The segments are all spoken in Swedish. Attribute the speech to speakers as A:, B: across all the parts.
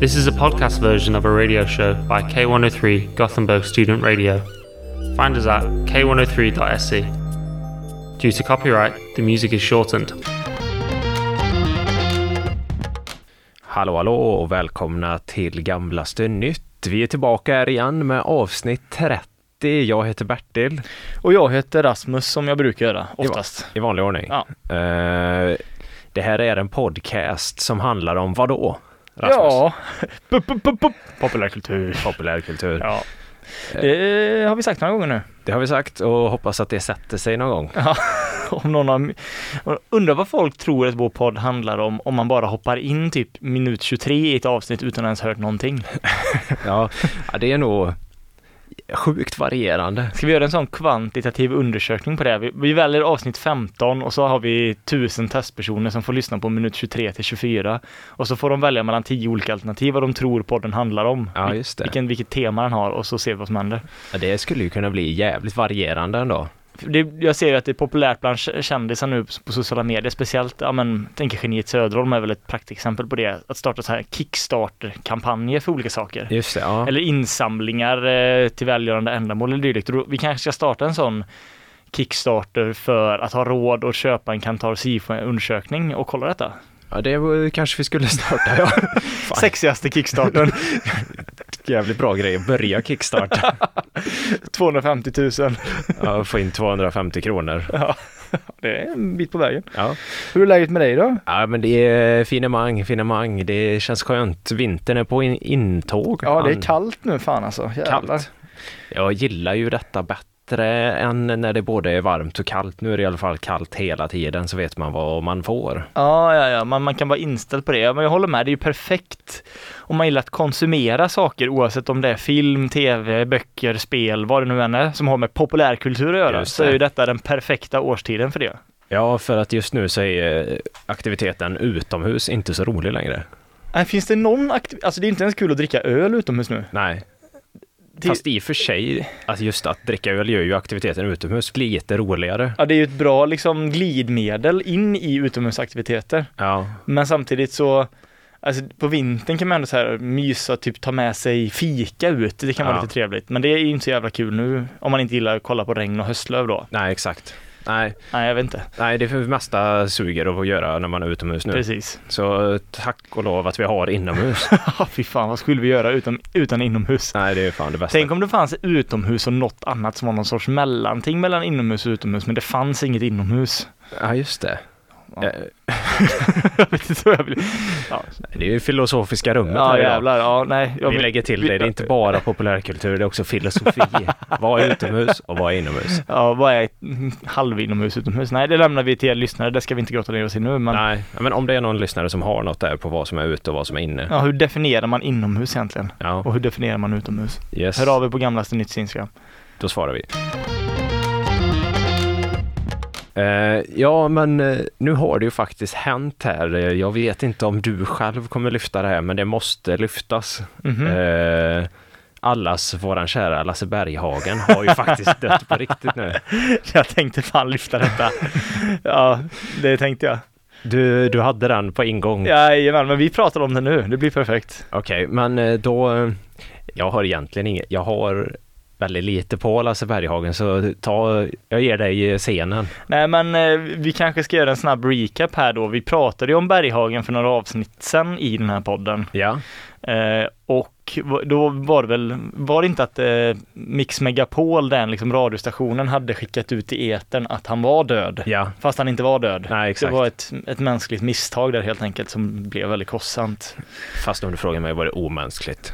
A: This is a podcast version of a radio show by K103 Gothenburg Student Radio. Find us at k103.se. E. Due to copyright, the music is shortened.
B: Hallå hallå och välkomna till Gamlaste Nytt. Vi är tillbaka här igen med avsnitt 30. Jag heter Bertil
C: Och jag heter Rasmus som jag brukar göra oftast.
B: i vanlig ordning.
C: Ja.
B: Eh, det här är en podcast som handlar om vad då?
C: Ja. Pop- pop- pop- pop. Populärkultur.
B: Populärkultur. Eh.
C: Ja. Det har vi sagt några gånger nu.
B: Det har vi sagt och hoppas att det sätter sig någon gång.
C: Om någon har... Undrar vad folk tror att vår podd handlar om om man bara hoppar in typ minut 23 i ett avsnitt utan att ens hört någonting.
B: Ja, ja det är nog sjukt varierande.
C: Ska vi göra en sån kvantitativ undersökning på det? här? Vi, vi väljer avsnitt 15 och så har vi 1000 testpersoner som får lyssna på minut 23 till 24 och så får de välja mellan 10 olika alternativ vad de tror podden handlar om.
B: Ja, just det.
C: Vilken, vilket tema den har och så ser vi vad som händer.
B: Ja, det skulle ju kunna bli jävligt varierande ändå.
C: det, jag ser ju att det är populärt bland k- kändisar nu på sociala medier, speciellt, ja men, tänker geniet Söderholm är väl ett praktexempel på det, att starta så här kickstarter-kampanjer för olika saker.
B: Just det, ja.
C: Eller insamlingar eh, till välgörande ändamål eller dylikt. Och då- Vi kanske ska starta en sån kickstarter för att ha råd att köpa en Kantar SIFO-undersökning och kolla detta.
B: ja det var- kanske vi skulle starta. Ja. Fan.
C: Sexigaste kickstarten,
B: Jävligt bra grej att börja kickstarta.
C: 250 000.
B: Ja, få in 250 kronor.
C: Det är en bit på vägen.
B: Ja.
C: Hur är läget med dig då?
B: ja, men det är finemang, finemang. Det känns skönt. Vintern är på in- intåg.
C: Ja, det
B: An-
C: är kallt nu fan alltså. Jävlar.
B: Kallt. Jag gillar ju detta bättre än när det både är varmt och kallt. Nu är det i alla fall kallt hela tiden så vet man vad man får.
C: Ja, ja, ja, man, man kan vara inställd på det. Ja, Men jag håller med, det är ju perfekt om man gillar att konsumera saker oavsett om det är film, tv, böcker, spel, vad det nu än är som har med populärkultur att göra.
B: Just
C: Så
B: det.
C: är ju detta den perfekta årstiden för det.
B: Ja, för att just nu så är eh, aktiviteten utomhus inte så rolig längre.
C: Nej, Finns det någon aktiv... Alltså det är inte ens kul att dricka öl utomhus nu.
B: Nej,
C: Det,
B: fast i och för sig, alltså just att dricka öl gör ju aktiviteten utomhus lite roligare.
C: ja, det är ju ett bra liksom glidmedel in i utomhusaktiviteter.
B: Ja,
C: Men samtidigt så Alltså på vintern kan man ändå så här mysa, typ ta med sig fika ut. Det kan vara
B: Ja.
C: lite trevligt. Men det är ju inte så jävla kul nu om man inte gillar att kolla på regn och höstlöv då.
B: nej exakt. Nej,
C: Nej, jag vet inte.
B: nej, det är för det mesta suger att göra när man är utomhus nu.
C: Precis.
B: Så eh, tack och lov att vi har inomhus.
C: Ja, fy fan, vad skulle vi göra utan, utan inomhus?
B: Nej, det är fan det bästa.
C: Tänk om det fanns utomhus och något annat som var någon sorts mellanting mellan inomhus och utomhus, men det fanns inget inomhus.
B: Ja, just det.
C: Ja.
B: Eh,
C: Jag vet inte vad jag vill. Ja,
B: Det är ju filosofiska rummet
C: ja
B: här idag.
C: jävlar. Ja, nej. jag
B: Vi
C: vill-
B: lägger till
C: vi-
B: det, det är inte bara populärkultur, det är också filosofi. vad är utomhus och vad är inomhus?
C: Ja, vad är mm, halv inomhus, utomhus? Nej, det lämnar vi till er lyssnare. Det ska vi inte grotta ner oss i nu, men
B: Nej, men om det är någon lyssnare som har något där på vad som är ute och vad som är inne.
C: ja, hur definierar man inomhus egentligen?
B: Ja,
C: Och hur definierar man utomhus?
B: yes.
C: Hör av er på gamlaste nytts Instagram.
B: Då svarar vi. Eh, ja, men eh, nu har det ju faktiskt hänt här. Eh, Jag vet inte om du själv kommer lyfta det här, men det måste lyftas.
C: Mhm.
B: Eh, allas våran kära Lasse Berghagen har ju faktiskt dött på riktigt nu.
C: Jag tänkte fan lyfta detta. ja, det tänkte jag.
B: Du, du hade den på ingång.
C: Jajamän, men vi pratar om det nu. Det blir perfekt.
B: Okej, men eh, då... eh, Jag har egentligen inget... Jag har väldigt lite på Lasse Berghagen, så ta... Jag ger dig eh, scenen.
C: Nej, men eh, vi kanske ska göra en snabb recap här då. Vi pratade ju om Berghagen för några avsnitt sen i den här podden.
B: Ja.
C: Eh, och v- då var det väl, var det inte att eh, Mix Megapol, den liksom radiostationen, hade skickat ut i etern att han var död?
B: Ja.
C: Fast han inte var död.
B: Nej, exakt.
C: Det var ett, ett mänskligt misstag där helt enkelt som blev väldigt kostsamt.
B: Fast om du frågar mig var det omänskligt.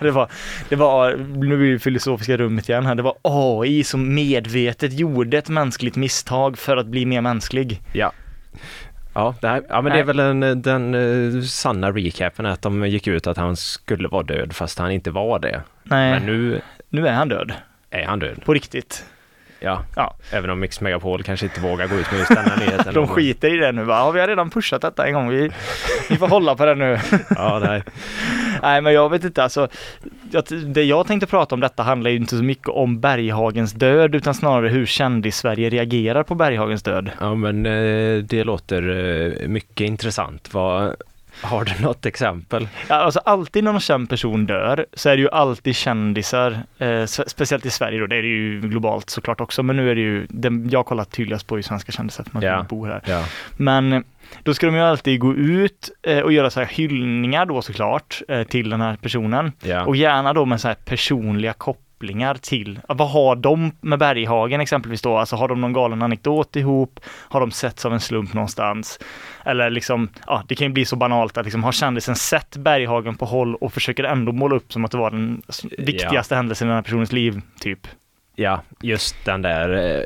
C: det, var, det var, nu blir det filosofiska rummet igen här, det var AI som medvetet gjorde ett mänskligt misstag för att bli mer mänsklig.
B: Ja. Ja, det här, ja men det är
C: Nej.
B: väl en, den eh, sanna recapen att de gick ut att han skulle vara död fast han inte var det.
C: Nej,
B: Men nu
C: nu är han död.
B: är han död.
C: På riktigt.
B: Ja.
C: Ja.
B: Även om Mix Megapol kanske inte vågar gå ut med just den här nyheten.
C: De skiter i det nu va? Ja, vi har redan pushat detta en gång, vi, vi får hålla på det nu.
B: Ja, nej.
C: Nej men jag vet inte alltså, jag, det jag tänkte prata om detta handlar ju inte så mycket om Berghagens död utan snarare hur kändis-Sverige reagerar på Berghagens död.
B: ja men eh, det låter eh, mycket intressant. Vad, Har du något exempel?
C: Ja, Alltså alltid när någon känd person dör så är det ju alltid kändisar, eh, s- speciellt i Sverige då, det är det ju globalt såklart också, men nu är det ju, den jag kollar tydligast på är ju svenska kändisar för man
B: Ja.
C: bor här.
B: Ja.
C: Men eh, då ska de ju alltid gå ut eh, och göra så här hyllningar då såklart eh, till den här personen.
B: Ja.
C: Och gärna då med så här personliga kopplingar till, ja, vad har de med Berghagen exempelvis då? Alltså har de någon galen anekdot ihop? Har de sett av en slump någonstans? Eller liksom, ja det kan ju bli så banalt att liksom, har kändisen sett Berghagen på håll och försöker ändå måla upp som att det var den s- viktigaste händelsen i den här personens liv, typ?
B: ja, just den där eh,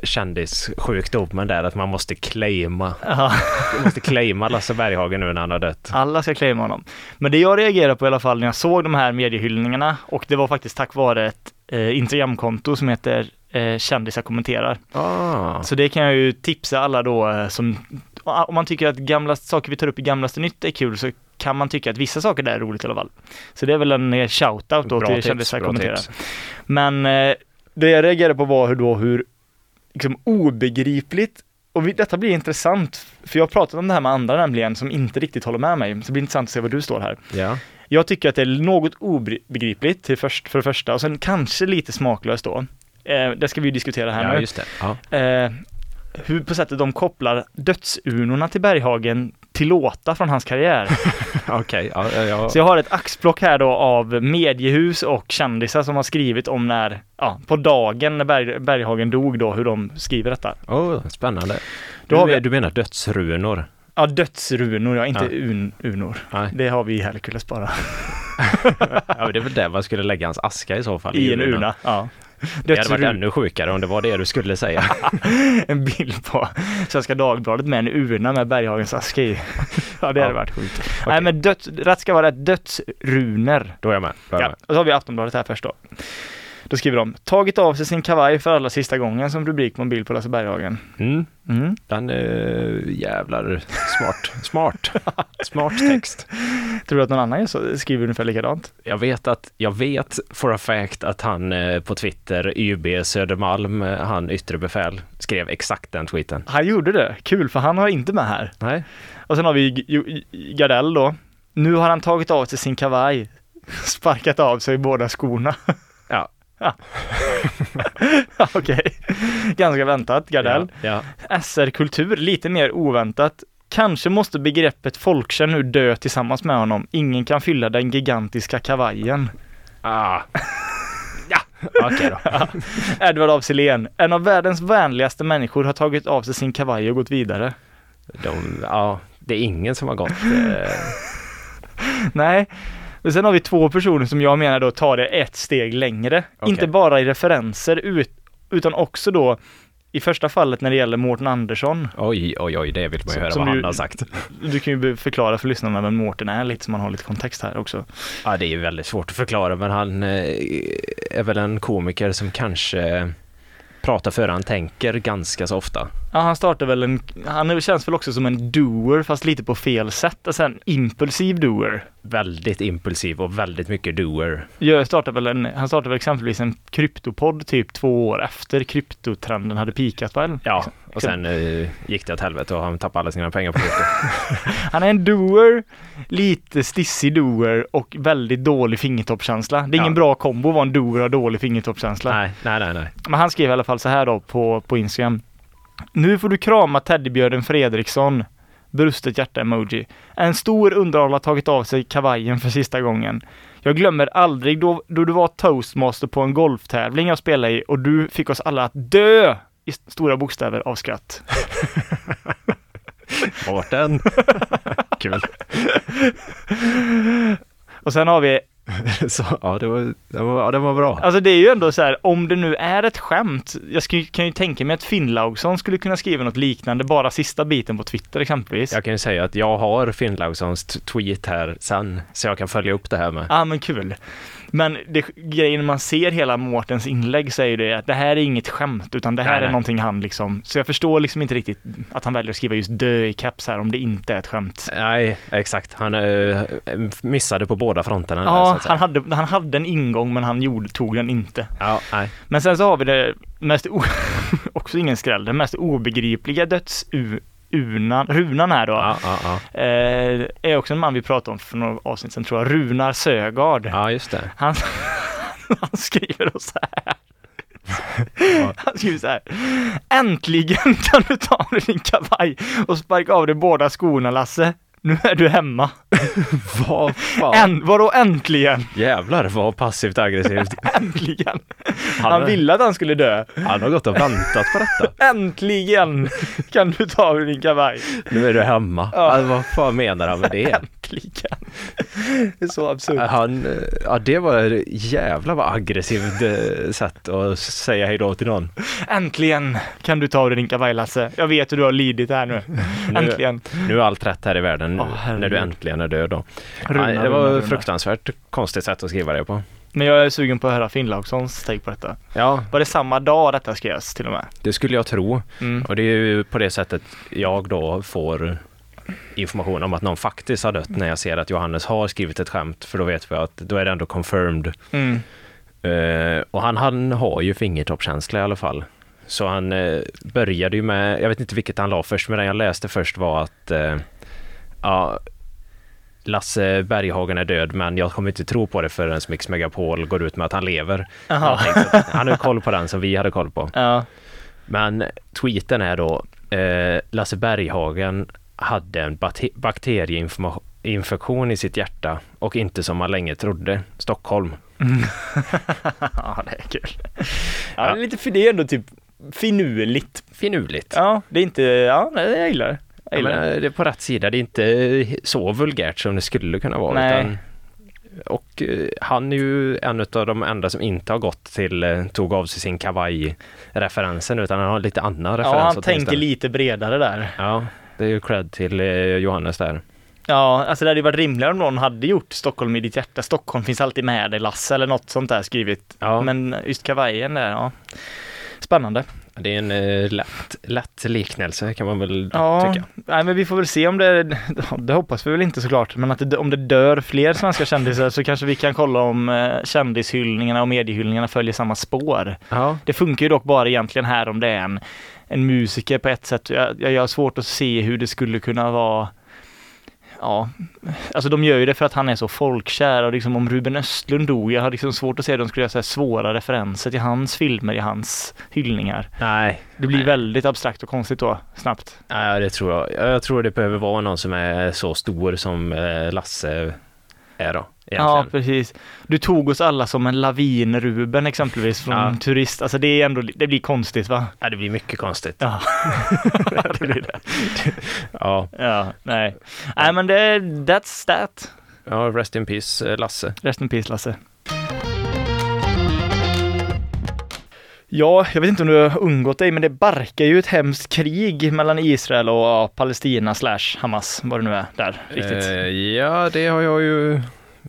B: kändissjukdomen där att man måste claima,
C: Ja.
B: man måste claima Lasse Berghagen nu när han har dött.
C: Alla ska claima honom. Men det jag reagerade på i alla fall när jag såg de här mediehyllningarna och det var faktiskt tack vare ett eh, Instagramkonto som heter eh, Kändisar kommenterar.
B: Ah.
C: Så det kan jag ju tipsa alla då eh, som, om man tycker att gamla saker vi tar upp i Gamlaste Nytt är kul så kan man tycka att vissa saker där är roligt i alla fall. Så det är väl en eh, shout-out då till Kändisar kommenterar. Men eh, det jag reagerade på var hur då hur liksom obegripligt och vi, detta blir intressant, för jag har pratat om det här med andra nämligen som inte riktigt håller med mig, så det blir intressant att se var du står här.
B: Ja.
C: Jag tycker att det är något obegripligt till först, för det första och sen kanske lite smaklöst då. Eh, det ska vi ju diskutera här
B: ja,
C: nu.
B: just det. Ja.
C: Eh, hur på sättet de kopplar dödsurnorna till Berghagen till låta från hans karriär.
B: Okej, ja, ja, ja.
C: Så jag har ett axplock här då av mediehus och kändisar som har skrivit om när, ja, på dagen när Berg, Berghagen dog då, hur de skriver detta.
B: Åh, spännande.
C: Då
B: Du,
C: har vi-
B: du menar dödsrunor?
C: Ja, dödsrunor, ja, inte
B: Ja.
C: Un, unor.
B: Nej.
C: Det har vi i Herkules bara.
B: Ja, men det är väl där man skulle lägga hans aska i så fall.
C: I en
B: urnan.
C: urna. Ja.
B: Det hade varit
C: Dödsrunor,
B: ännu sjukare om det var det du skulle säga.
C: en bild på Svenska Dagbladet med en urna med Berghagens aska i. Ja, det hade
B: Ja.
C: varit sjukt. Nej, men döds, rätt ska vara rätt. Dödsrunor.
B: Då är jag med. Då är jag
C: Ja, och så har vi Aftonbladet här först då. Då skriver de, tagit av sig sin kavaj för allra sista gången som rubrik på en bild på Lasse Berghagen.
B: med. Mm.
C: Mm.
B: Den är jävlar smart. Smart. smart text.
C: Tror du att någon annan gör så, skriver ungefär likadant?
B: Jag vet att, jag vet for a fact att han eh, på Twitter, YB Södermalm, eh, han yttre befäl, skrev exakt den tweeten.
C: Han gjorde det, kul för han har inte med här.
B: Nej.
C: Och sen har vi G- G- Gardell då. Nu har han tagit av sig sin kavaj, sparkat av sig båda skorna.
B: Ja.
C: Ja, Okej, ganska väntat Gardell.
B: Ja.
C: SR Kultur, lite mer oväntat. Kanske måste begreppet folkkär nu dö tillsammans med honom. Ingen kan fylla den gigantiska kavajen.
B: Ah. ja. Okej då.
C: Edvard af Sillén, en av världens vänligaste människor, har tagit av sig sin kavaj och gått vidare.
B: De, ja, det är ingen som har gått. Eh,
C: Nej. Men sen har vi två personer som jag menar då tar det ett steg längre.
B: Okej.
C: Inte bara i referenser, ut, utan också då i första fallet när det gäller Mårten Andersson.
B: oj, oj, oj, det vill man ju
C: Som-
B: höra
C: som
B: vad
C: ju-
B: han har sagt.
C: Du kan ju be- förklara för lyssnarna vem Mårten är lite, så man har lite kontext här också.
B: Ja, det är ju väldigt svårt att förklara, men han eh, är väl en komiker som kanske pratar före han tänker ganska så ofta.
C: Ja, han startar väl en, han känns väl också som en doer fast lite på fel sätt, alltså en impulsiv doer.
B: Väldigt impulsiv och väldigt mycket doer.
C: Jag startar väl en, han startade väl exempelvis en kryptopodd typ två år efter kryptotrenden hade pikat väl?
B: Ja, och sen eh, gick det åt helvete och han tappade alla sina pengar på det.
C: Han är en doer, lite stissig doer och väldigt dålig fingertoppskänsla. Det är ingen
B: Ja.
C: bra kombo att vara en doer och dålig fingertoppskänsla.
B: nej, nej, nej, nej.
C: Men han skrev i alla fall så här då på, på Instagram. Nu får du krama teddybjörnen Fredriksson. Brustet hjärta-emoji. En stor underhåll har tagit av sig kavajen för sista gången. Jag glömmer aldrig då, då du var toastmaster på en golftävling jag spelade i och du fick oss alla att dö i s- stora bokstäver av skratt.
B: Mårten! Kul.
C: Och sen har vi
B: Så, ja, det var, det var, ja, det var bra.
C: Alltså det är ju ändå så här, om det nu är ett skämt, jag skulle, kan ju tänka mig att Finnlaugsson skulle kunna skriva något liknande, bara sista biten på Twitter exempelvis. Ja
B: Jag kan ju säga att jag har Finnlaugssons t- tweet här sen, så jag kan följa upp det här med.
C: ah, men kul. Men det, grejen när man ser hela Mårtens inlägg så är ju det att det här är inget skämt, utan det här
B: Nej,
C: är
B: nej.
C: någonting han liksom, så jag förstår liksom inte riktigt att han väljer att skriva just dö i caps här om det inte är ett skämt.
B: Nej, exakt. Han eh, missade på båda fronterna. där, så
C: Ja,
B: att säga.
C: han hade, han hade en ingång men han gjorde, tog den inte.
B: ja, nej.
C: Men sen så har vi det mest, o- också ingen skräll, det mest obegripliga dödsurnan Unan, Runan här då,
B: Ja, ja, ja.
C: eh, är också en man vi pratade om för några avsnitt sedan tror jag, Runar Sögaard.
B: ja, just det.
C: Han, han skriver då så här. Han skriver så här. Äntligen kan du ta av dig din kavaj och sparka av dig båda skorna Lasse. Nu är du hemma.
B: Vad fan?
C: Än, vadå äntligen?
B: Jävlar vad passivt aggressivt.
C: Äntligen!
B: Han- eh,
C: Han ville att han skulle dö.
B: Han har gått och väntat på detta.
C: Äntligen kan du ta av dig din kavaj.
B: Nu är du hemma.
C: Ja.
B: Alltså, vad fan menar han med det?
C: Äntligen. Det är så absurt.
B: Han, eh, ja det var ett jävla vad aggressivt eh, sätt att säga hejdå till någon.
C: Äntligen kan du ta av dig din kavaj Lasse. Jag vet hur du har lidit här nu. Äntligen.
B: Nu är allt rätt här i världen nu,
C: Åh, herregud.
B: när du äntligen är död då.
C: Runa,
B: Nej, det var
C: runa, runa.
B: fruktansvärt konstigt sätt att skriva det på.
C: Men jag är sugen på att höra Finn Laukssons take på detta.
B: Ja,
C: Var det samma dag detta skrevs till och med?
B: det skulle jag tro.
C: Mm.
B: Och det är ju på det sättet jag då får information om att någon faktiskt har dött när jag ser att Johannes har skrivit ett skämt för då vet vi att då är det ändå confirmed.
C: Mm.
B: Eh, och han, han har ju fingertoppskänsla i alla fall. Så han eh, började ju med, jag vet inte vilket han la först, men den jag läste först var att eh, ja, Lasse Berghagen är död men jag kommer inte tro på det förrän Mix Megapol går ut med att han lever.
C: Jaha.
B: Jag tänkte att Han har ju koll på den som vi hade koll på.
C: Ja.
B: Men tweeten är då eh, Lasse Berghagen hade en bate- bakterieinfektion i sitt hjärta och inte som man länge trodde. Stockholm.
C: ja, det är kul. Ja, det är lite, för det är ändå typ finurligt.
B: Finurligt.
C: Ja, det är inte, ja, nej, jag gillar det. Jag
B: Jag
C: gillar
B: menar,
C: det.
B: det är på rätt sida. Det är inte eh, så vulgärt som det skulle kunna vara.
C: Nej.
B: Utan, och eh, han är ju en av de enda som inte har gått till, eh, tog av sig sin kavaj-referensen, utan han har lite annan referens.
C: Ja, han
B: åtminstone.
C: tänker lite bredare där.
B: Ja, det är ju cred till eh, Johannes där.
C: Ja, alltså det hade ju varit rimligare om någon hade gjort Stockholm i ditt hjärta. Stockholm finns alltid med dig Lasse eller något sånt där skrivit.
B: Ja,
C: Men just kavajen där, ja. Spännande.
B: det är en eh, lätt, lätt liknelse kan man väl
C: Ja,
B: tycka.
C: nej, men vi får väl se om det, det hoppas vi väl inte såklart, men att det, om det dör fler svenska kändisar så kanske vi kan kolla om eh, kändishyllningarna och mediehyllningarna följer samma spår.
B: Ja,
C: Det funkar ju dock bara egentligen här om det är en, en musiker på ett sätt. Jag, jag, jag har svårt att se hur det skulle kunna vara Ja, alltså de gör ju det för att han är så folkkär och liksom om Ruben Östlund dog, jag har liksom svårt att se att de skulle göra så här svåra referenser till hans filmer i hans hyllningar.
B: nej,
C: Det blir väldigt abstrakt och konstigt då, snabbt.
B: nej, det tror jag. Jag tror det behöver vara någon som är så stor som eh, Lasse är då.
C: Ja,
B: Egentligen.
C: precis. Du tog oss alla som en lavin, Ruben exempelvis, från
B: Ja.
C: turist. Alltså det är ändå, det blir konstigt va?
B: Ja, det blir mycket konstigt.
C: Ja, det blir det.
B: Ja,
C: Ja, nej. Nej men det, that's that.
B: ja rest in peace eh, Lasse.
C: Rest in peace Lasse. Ja, jag vet inte om du har undgått dig, men det barkar ju ett hemskt krig mellan Israel och ja, Palestina slash Hamas, vad det nu är där riktigt.
B: Eh, ja, det har jag ju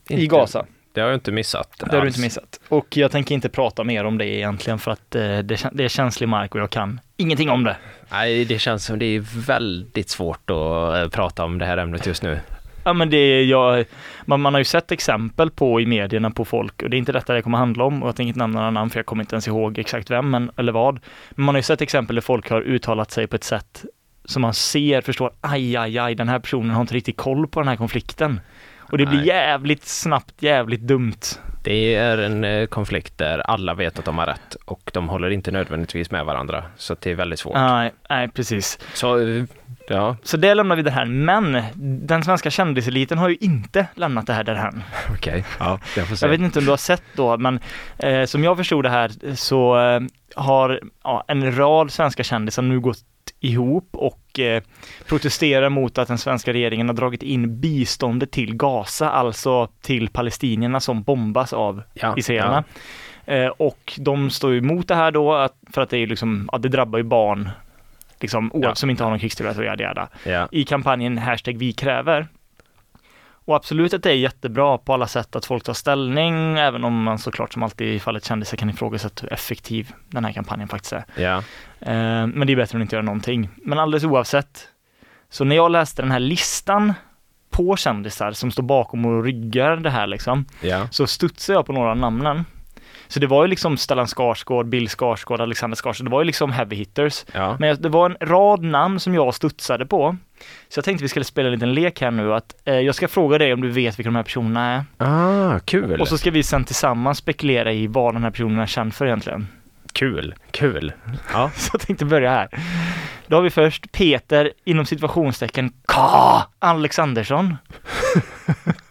B: inte,
C: I Gaza.
B: Det har jag inte missat.
C: Det har du
B: alls.
C: inte missat. Och jag tänker inte prata mer om det egentligen för att eh, det, kän- det är känslig mark och jag kan ingenting om det.
B: Nej, det känns som det är väldigt svårt att eh, prata om det här ämnet just nu.
C: Ja men det är jag, man, man har ju sett exempel på i medierna på folk och det är inte detta det kommer handla om och jag tänker inte nämna några namn för jag kommer inte ens ihåg exakt vem men, eller vad. Men man har ju sett exempel där folk har uttalat sig på ett sätt som man ser, förstår, aj aj aj den här personen har inte riktigt koll på den här konflikten. Och det blir
B: Nej.
C: jävligt snabbt, jävligt dumt.
B: Det är en eh, konflikt där alla vet att de har rätt och de håller inte nödvändigtvis med varandra. Så att det är väldigt svårt.
C: Nej, nej precis.
B: Så, eh, ja,
C: Så det lämnar vi det här, men den svenska kändiseliten har ju inte lämnat det här därhän.
B: okej. Ja, jag får se.
C: Jag vet inte om du har sett då, men eh, som jag förstod det här så eh, har ja, en rad svenska kändisar nu gått ihop och eh, protesterar mot att den svenska regeringen har dragit in biståndet till Gaza, alltså till palestinierna som bombas av
B: ja,
C: israelerna. Eh, och de står ju emot det här då, att, för att det är ju liksom, ja, det drabbar ju barn, liksom,
B: Ja.
C: oavsett som inte har någon krigsturrätt och yada yada
B: Ja, ja.
C: i kampanjen hashtag vi kräver. Och absolut att det är jättebra på alla sätt att folk tar ställning, även om man såklart som alltid i fallet kändisar kan ifrågasätta hur effektiv den här kampanjen faktiskt är.
B: ja.
C: Eh, Men det är bättre än att inte göra någonting. Men alldeles oavsett, så när jag läste den här listan på kändisar som står bakom och ryggar det här liksom,
B: ja.
C: så studsade jag på några av namnen. Så det var ju liksom Stellan Skarsgård, Bill Skarsgård, Alexander Skarsgård. Det var ju liksom heavy hitters.
B: Ja.
C: Men jag- det var en rad namn som jag studsade på. Så jag tänkte vi skulle spela en liten lek här nu att eh, jag ska fråga dig om du vet vilka de här personerna är.
B: Ah, kul.
C: Och så ska vi sen tillsammans spekulera i vad de här personerna är känd för egentligen.
B: Kul, kul. Ja.
C: Så jag tänkte börja här. Då har vi först Peter, inom situationstecken K. Alexandersson.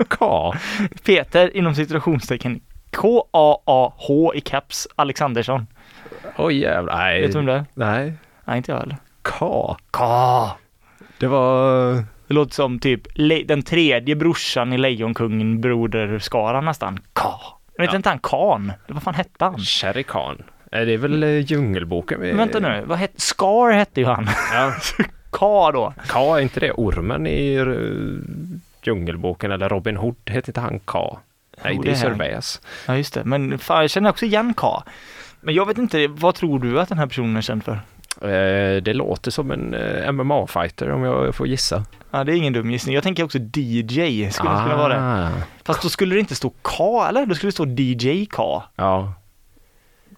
B: Ka.
C: Peter, inom situationstecken K-A-A-H i caps, Alexandersson.
B: Oj jävlar. Nej.
C: Vet du vem det är?
B: Nej.
C: Nej, inte jag heller.
B: Ka.
C: K.
B: Det var...
C: Det låter som typ le- den tredje brorsan i Lejonkungen, Broderskaran nästan. K. Men hette
B: Ja.
C: inte han Kan? Vad fan hette han?
B: Sherry Khan. Eh, Det är väl eh, Djungelboken? vi-
C: Men vänta nu, vad hette... Scar hette ju han.
B: Ja.
C: K då.
B: Ka, är inte det ormen i eh, Djungelboken? Eller Robin Hood, heter inte han Ka? Nej,
C: Jo,
B: det är
C: det är han.
B: Servais.
C: Ja just det, men fan jag känner också igen K. Men jag vet inte, vad tror du att den här personen är känd för?
B: Eh, Det låter som en eh, MMA-fighter om jag får gissa.
C: Ja, det är ingen dum gissning. Jag tänker också DJ, skulle det kunna vara det.
B: Ah.
C: Fast då skulle det inte stå K eller? Då skulle det stå DJ K.
B: Ja,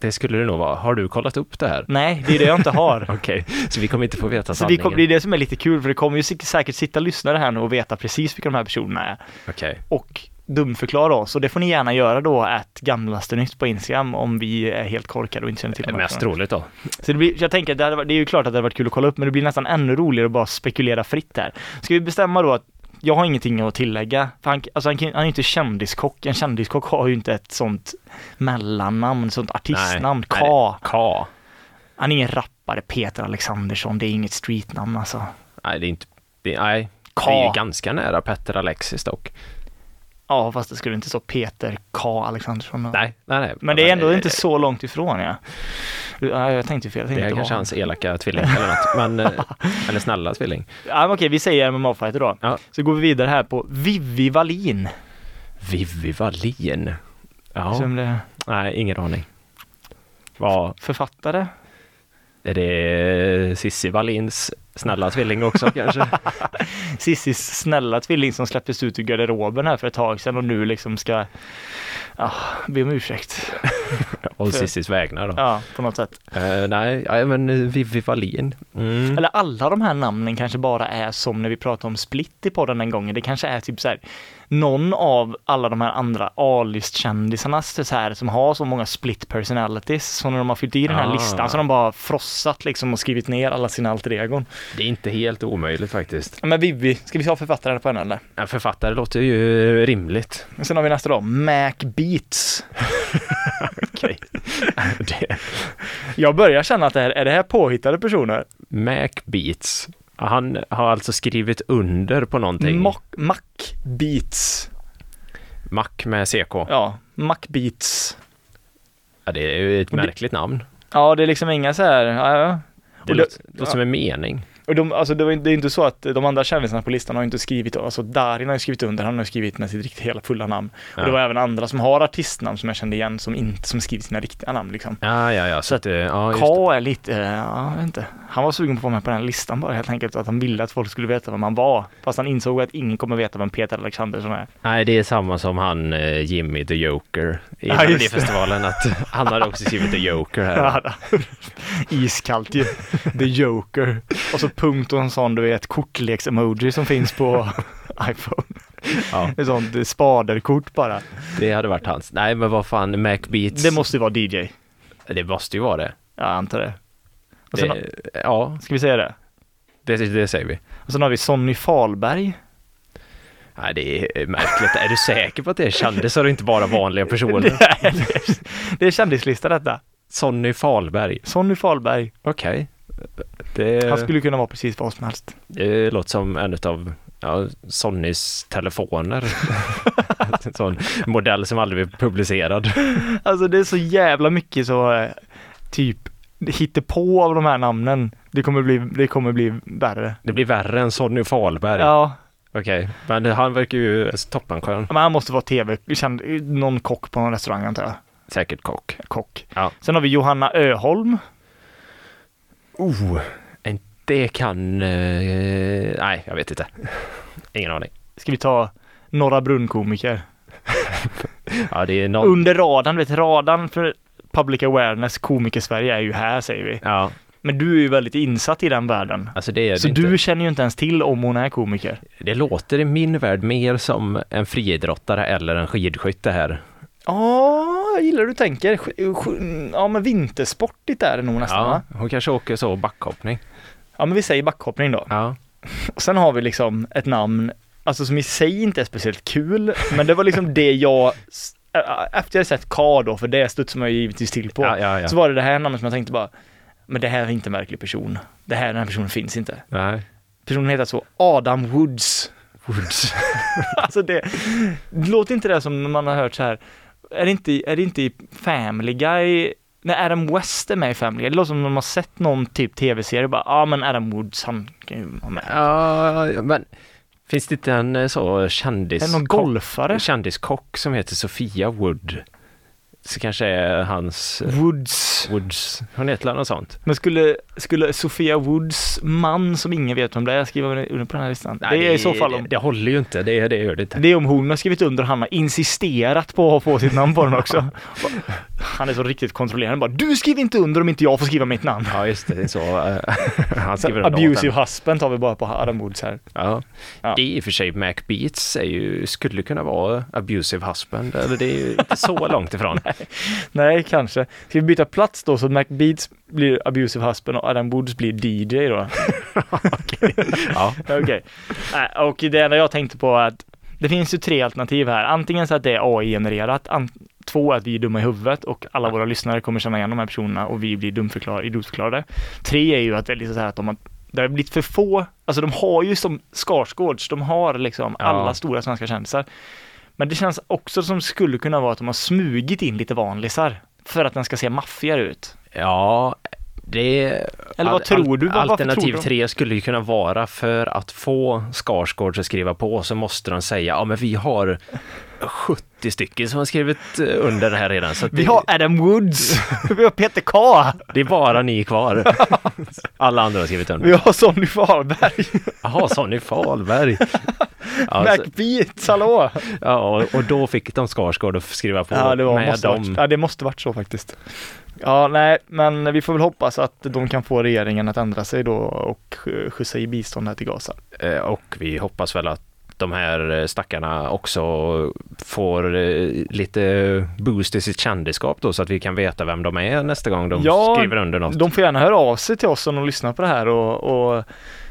B: det skulle det nog vara. Har du kollat upp det här?
C: Nej, det är det jag inte har.
B: Okej, så vi kommer inte få veta
C: Mm. Så vi
B: sanningen.
C: kom, det är det som är lite kul, för det kommer ju sik- säkert sitta lyssnare här nu och veta precis vilka de här personerna är.
B: Okej,
C: Och dumförklara oss, och det får ni gärna göra då, att gamlaste nytt på Instagram, om vi är helt korkade och inte känner till de här
B: mest
C: personerna.
B: troligt då.
C: Så det blir, jag tänker att det, hade, varit- det är ju klart att det hade varit kul att kolla upp, men det blir nästan ännu roligare att bara spekulera fritt här. Ska vi bestämma då att jag har ingenting att tillägga, för han, alltså han, kan- han är ju inte kändiskock, en kändiskock har ju inte ett sånt mellannamn, ett sånt artistnamn,
B: Nej,
C: K.
B: Ka.
C: Han är ingen rappare, Peter Alexandersson, det är inget streetnamn alltså.
B: Nej, det är inte... Det, nej.
C: Ka.
B: Det är ju ganska nära Petter Alexis dock.
C: Ja, fast det skulle inte stå Peter K. Alexandersson. då.
B: Nej, nej, nej.
C: Men det är ändå
B: eh,
C: inte så långt ifrån ja. ja jag tänkte fel,
B: Det
C: jag tänkte
B: är
C: inte
B: kanske
C: vara-
B: hans elaka tvilling eller något. Men, eh, eller snälla tvilling.
C: Ja, men okej, vi säger MMA-fighter då.
B: Ja.
C: Så går vi vidare här på Vivi Wallin.
B: Vivi Wallin. Ja,
C: Som det
B: nej, ingen aning. Vad
C: författare.
B: är det Sissi Wallins snälla tvilling också kanske?
C: Sissis snälla tvilling som släpptes ut ur garderoben här för ett tag sedan och nu liksom ska ah, be om ursäkt.
B: Och Sissis vägnar då.
C: Ja, på något sätt.
B: Eh, nej, ja, men eh, Vivi Wallin. Mm.
C: Eller alla de här namnen kanske bara är som när vi pratade om Split i podden den gången. Det kanske är typ så här någon av alla de här andra A-listkändisarna så här, som har så många split personalities. Så när de har fyllt i den här
B: Ah.
C: listan så har de bara frossat liksom och skrivit ner alla sina alter egon.
B: Det är inte helt omöjligt faktiskt.
C: Ja, Men Vivi, ska vi ta författaren på henne eller?
B: En författare låter ju rimligt.
C: Men Sen har vi nästa då, Mac Beats.
B: Okej. Okay.
C: Jag börjar känna att det här, är det här påhittade personer?
B: Mac Beats. Han har alltså skrivit under på någonting.
C: Mac, Mac Beats.
B: Mac med CK.
C: Ja, Mac Beats.
B: Ja, det är ju ett
C: det-
B: märkligt namn.
C: Ja, det är liksom inga så här, ja, ja. Och
B: Det
C: det-
B: låter, låter som en mening.
C: Och de, alltså det, var, det är inte så att de andra kändisarna på listan har inte skrivit, alltså Darin har ju skrivit under, han har ju skrivit med sitt riktiga hela fulla namn. Och
B: Ja.
C: det var även andra som har artistnamn som jag kände igen som inte, som skrivit sina riktiga namn liksom.
B: Ja, ja, ja. Så att, eh, ja, just,
C: K är lite, eh, ja, jag vet inte. Han var sugen på att vara med på den här listan bara helt enkelt, att han ville att folk skulle veta vem han var. Fast han insåg att ingen kommer veta vem Peter Alexandersson är.
B: nej, det är samma som han eh, Jimmy the Joker i
C: Ja, just det.
B: Melodifestivalen. Att han hade också skrivit the Joker här.
C: Ja. Iskallt ju. The Joker. Och så punkt och en sån, du vet, kortleks-emoji som finns på iPhone.
B: Ja,
C: Ett sånt spaderkort bara.
B: det hade varit hans. Nej, men vad fan, Mac Beats.
C: Det måste ju vara DJ.
B: det måste ju vara det.
C: Ja, jag antar det. Och sen,
B: det ja,
C: Ska vi säga det?
B: det, det säger vi.
C: Och sen har vi Sonny Fahlberg.
B: Nej, det är märkligt. är du säker på att det är kändisar och inte bara vanliga personer?
C: Det är kändislista detta.
B: Sonny Fahlberg.
C: Sonny Fahlberg.
B: Okej. Det,
C: Han skulle kunna vara precis vad som helst.
B: det låter som en av ja, Sonnys telefoner. en sån modell som aldrig blir publicerad.
C: Alltså det är så jävla mycket så eh, typ hittepå av de här namnen. Det kommer bli, det kommer bli värre.
B: Det blir värre än Sonny Fahlberg.
C: Ja,
B: Okej, men han verkar ju toppenskön.
C: men han måste vara tv, känd, någon kock på någon restaurang antar jag.
B: Säkert kock.
C: Kock.
B: Ja.
C: Sen har vi Johanna Öholm.
B: Oh, en- det kan... Eh, nej, jag vet inte. Ingen aning.
C: Ska vi ta Norra Brunn komiker.
B: Ja, det är någon...
C: Under radarn, du vet radarn för public awareness, komiker-Sverige är ju här säger vi.
B: Ja,
C: Men du är ju väldigt insatt i den världen.
B: alltså det är det
C: Så
B: inte.
C: du känner ju inte ens till om hon är komiker.
B: Det låter i min värld mer som en friidrottare eller en skidskytte här.
C: Ja, jag gillar hur du tänker. Sk- sk- Ja, men vintersportigt är det nog nästan
B: Ja,
C: va?
B: hon kanske åker så backhoppning.
C: Ja, men vi säger backhoppning då.
B: Ja.
C: Och sen har vi liksom ett namn, alltså som i sig inte är speciellt kul, men det var liksom det jag, s- ä- ä- efter jag sett K då, för det studsar man ju givetvis till på,
B: Ja, ja, ja.
C: så var det det här namnet som jag tänkte bara, men det här är inte en verklig person. Det här, den här personen finns inte.
B: Nej.
C: Personen heter så Adam Woods.
B: Woods.
C: Alltså det, låter inte det som när man har hört så här, är det inte, är det inte i Family Guy, när Adam West är med i Family Guy, det låter som när man har sett någon typ tv-serie och bara, ja ah, men Adam Woods, han kan ju vara med.
B: Ja, men finns det inte en eh, så kändis...
C: Är det någon golfare?
B: kändiskock som heter Sofia Wood? Så kanske är hans... eh,
C: Woods.
B: Woods. Hon heter väl något sånt?
C: Men skulle, skulle Sofia Woods man, som ingen vet vem det är, skriva under på den här listan? det är i så fall om...
B: Det, det håller ju inte, det, det gör det inte.
C: Det är om hon har skrivit under och han har insisterat på att ha på sitt namn på den också. Han är så riktigt kontrollerande bara, du skriver inte under om inte jag får skriva mitt namn.
B: Ja, just det. det är så. eh, Han
C: Så
B: skriver under åt
C: abusive
B: henne.
C: husband tar vi bara på Adam Woods här.
B: Ja.
C: Ja.
B: Det är i och för sig, Mac Beats är ju, skulle kunna vara abusive husband, eller det är ju inte så långt ifrån.
C: Nej, kanske. Ska vi byta plats då så att McBeats blir abusive husband och Adam Woods blir DJ då?
B: Ja.
C: Okej. Nej, Och det enda jag tänkte på är att det finns ju tre alternativ här. Antingen så att det är AI-genererat, an- två att vi är dumma i huvudet och alla våra lyssnare kommer känna igen de här personerna och vi blir dumförklarade, idiotförklarade. Tre är ju att det är liksom så här att de har, det har blivit för få, alltså de har ju som Skarsgårds, de har liksom
B: Ja.
C: alla stora svenska kändisar. Men det känns också som skulle kunna vara att de har smugit in lite vanlisar för att den ska se maffigare ut.
B: Ja, det...
C: Eller vad tror du? Vad- varför
B: Alternativ
C: tror du?
B: 3 skulle ju kunna vara för att få Skarsgård att skriva på så måste de säga ja men vi har 70 stycken som har skrivit eh, under det här redan så att
C: Vi
B: det,
C: har Adam Woods, vi har Peter K,
B: det är bara ni kvar. Alla andra har skrivit
C: vi
B: under.
C: har Sonny Fahlberg.
B: Jaha, Sonny Fahlberg. Ja, så,
C: Macbeats, hallå!
B: alltså- ja, och- och då fick de Skarsgård att skriva på
C: Ja det, var,
B: med
C: måste
B: dem.
C: varit, ja, det måste varit så faktiskt. Ja, nej, men vi får väl hoppas att de kan få regeringen att ändra sig då och sk- skjutsa i bistånd här till Gaza.
B: Eh, Och vi hoppas väl att de här eh, stackarna också får eh, lite boost i sitt kändisskap då så att vi kan veta vem de är nästa gång de
C: Ja,
B: skriver under något.
C: De får gärna höra av sig till oss om de lyssnar på det här och, och,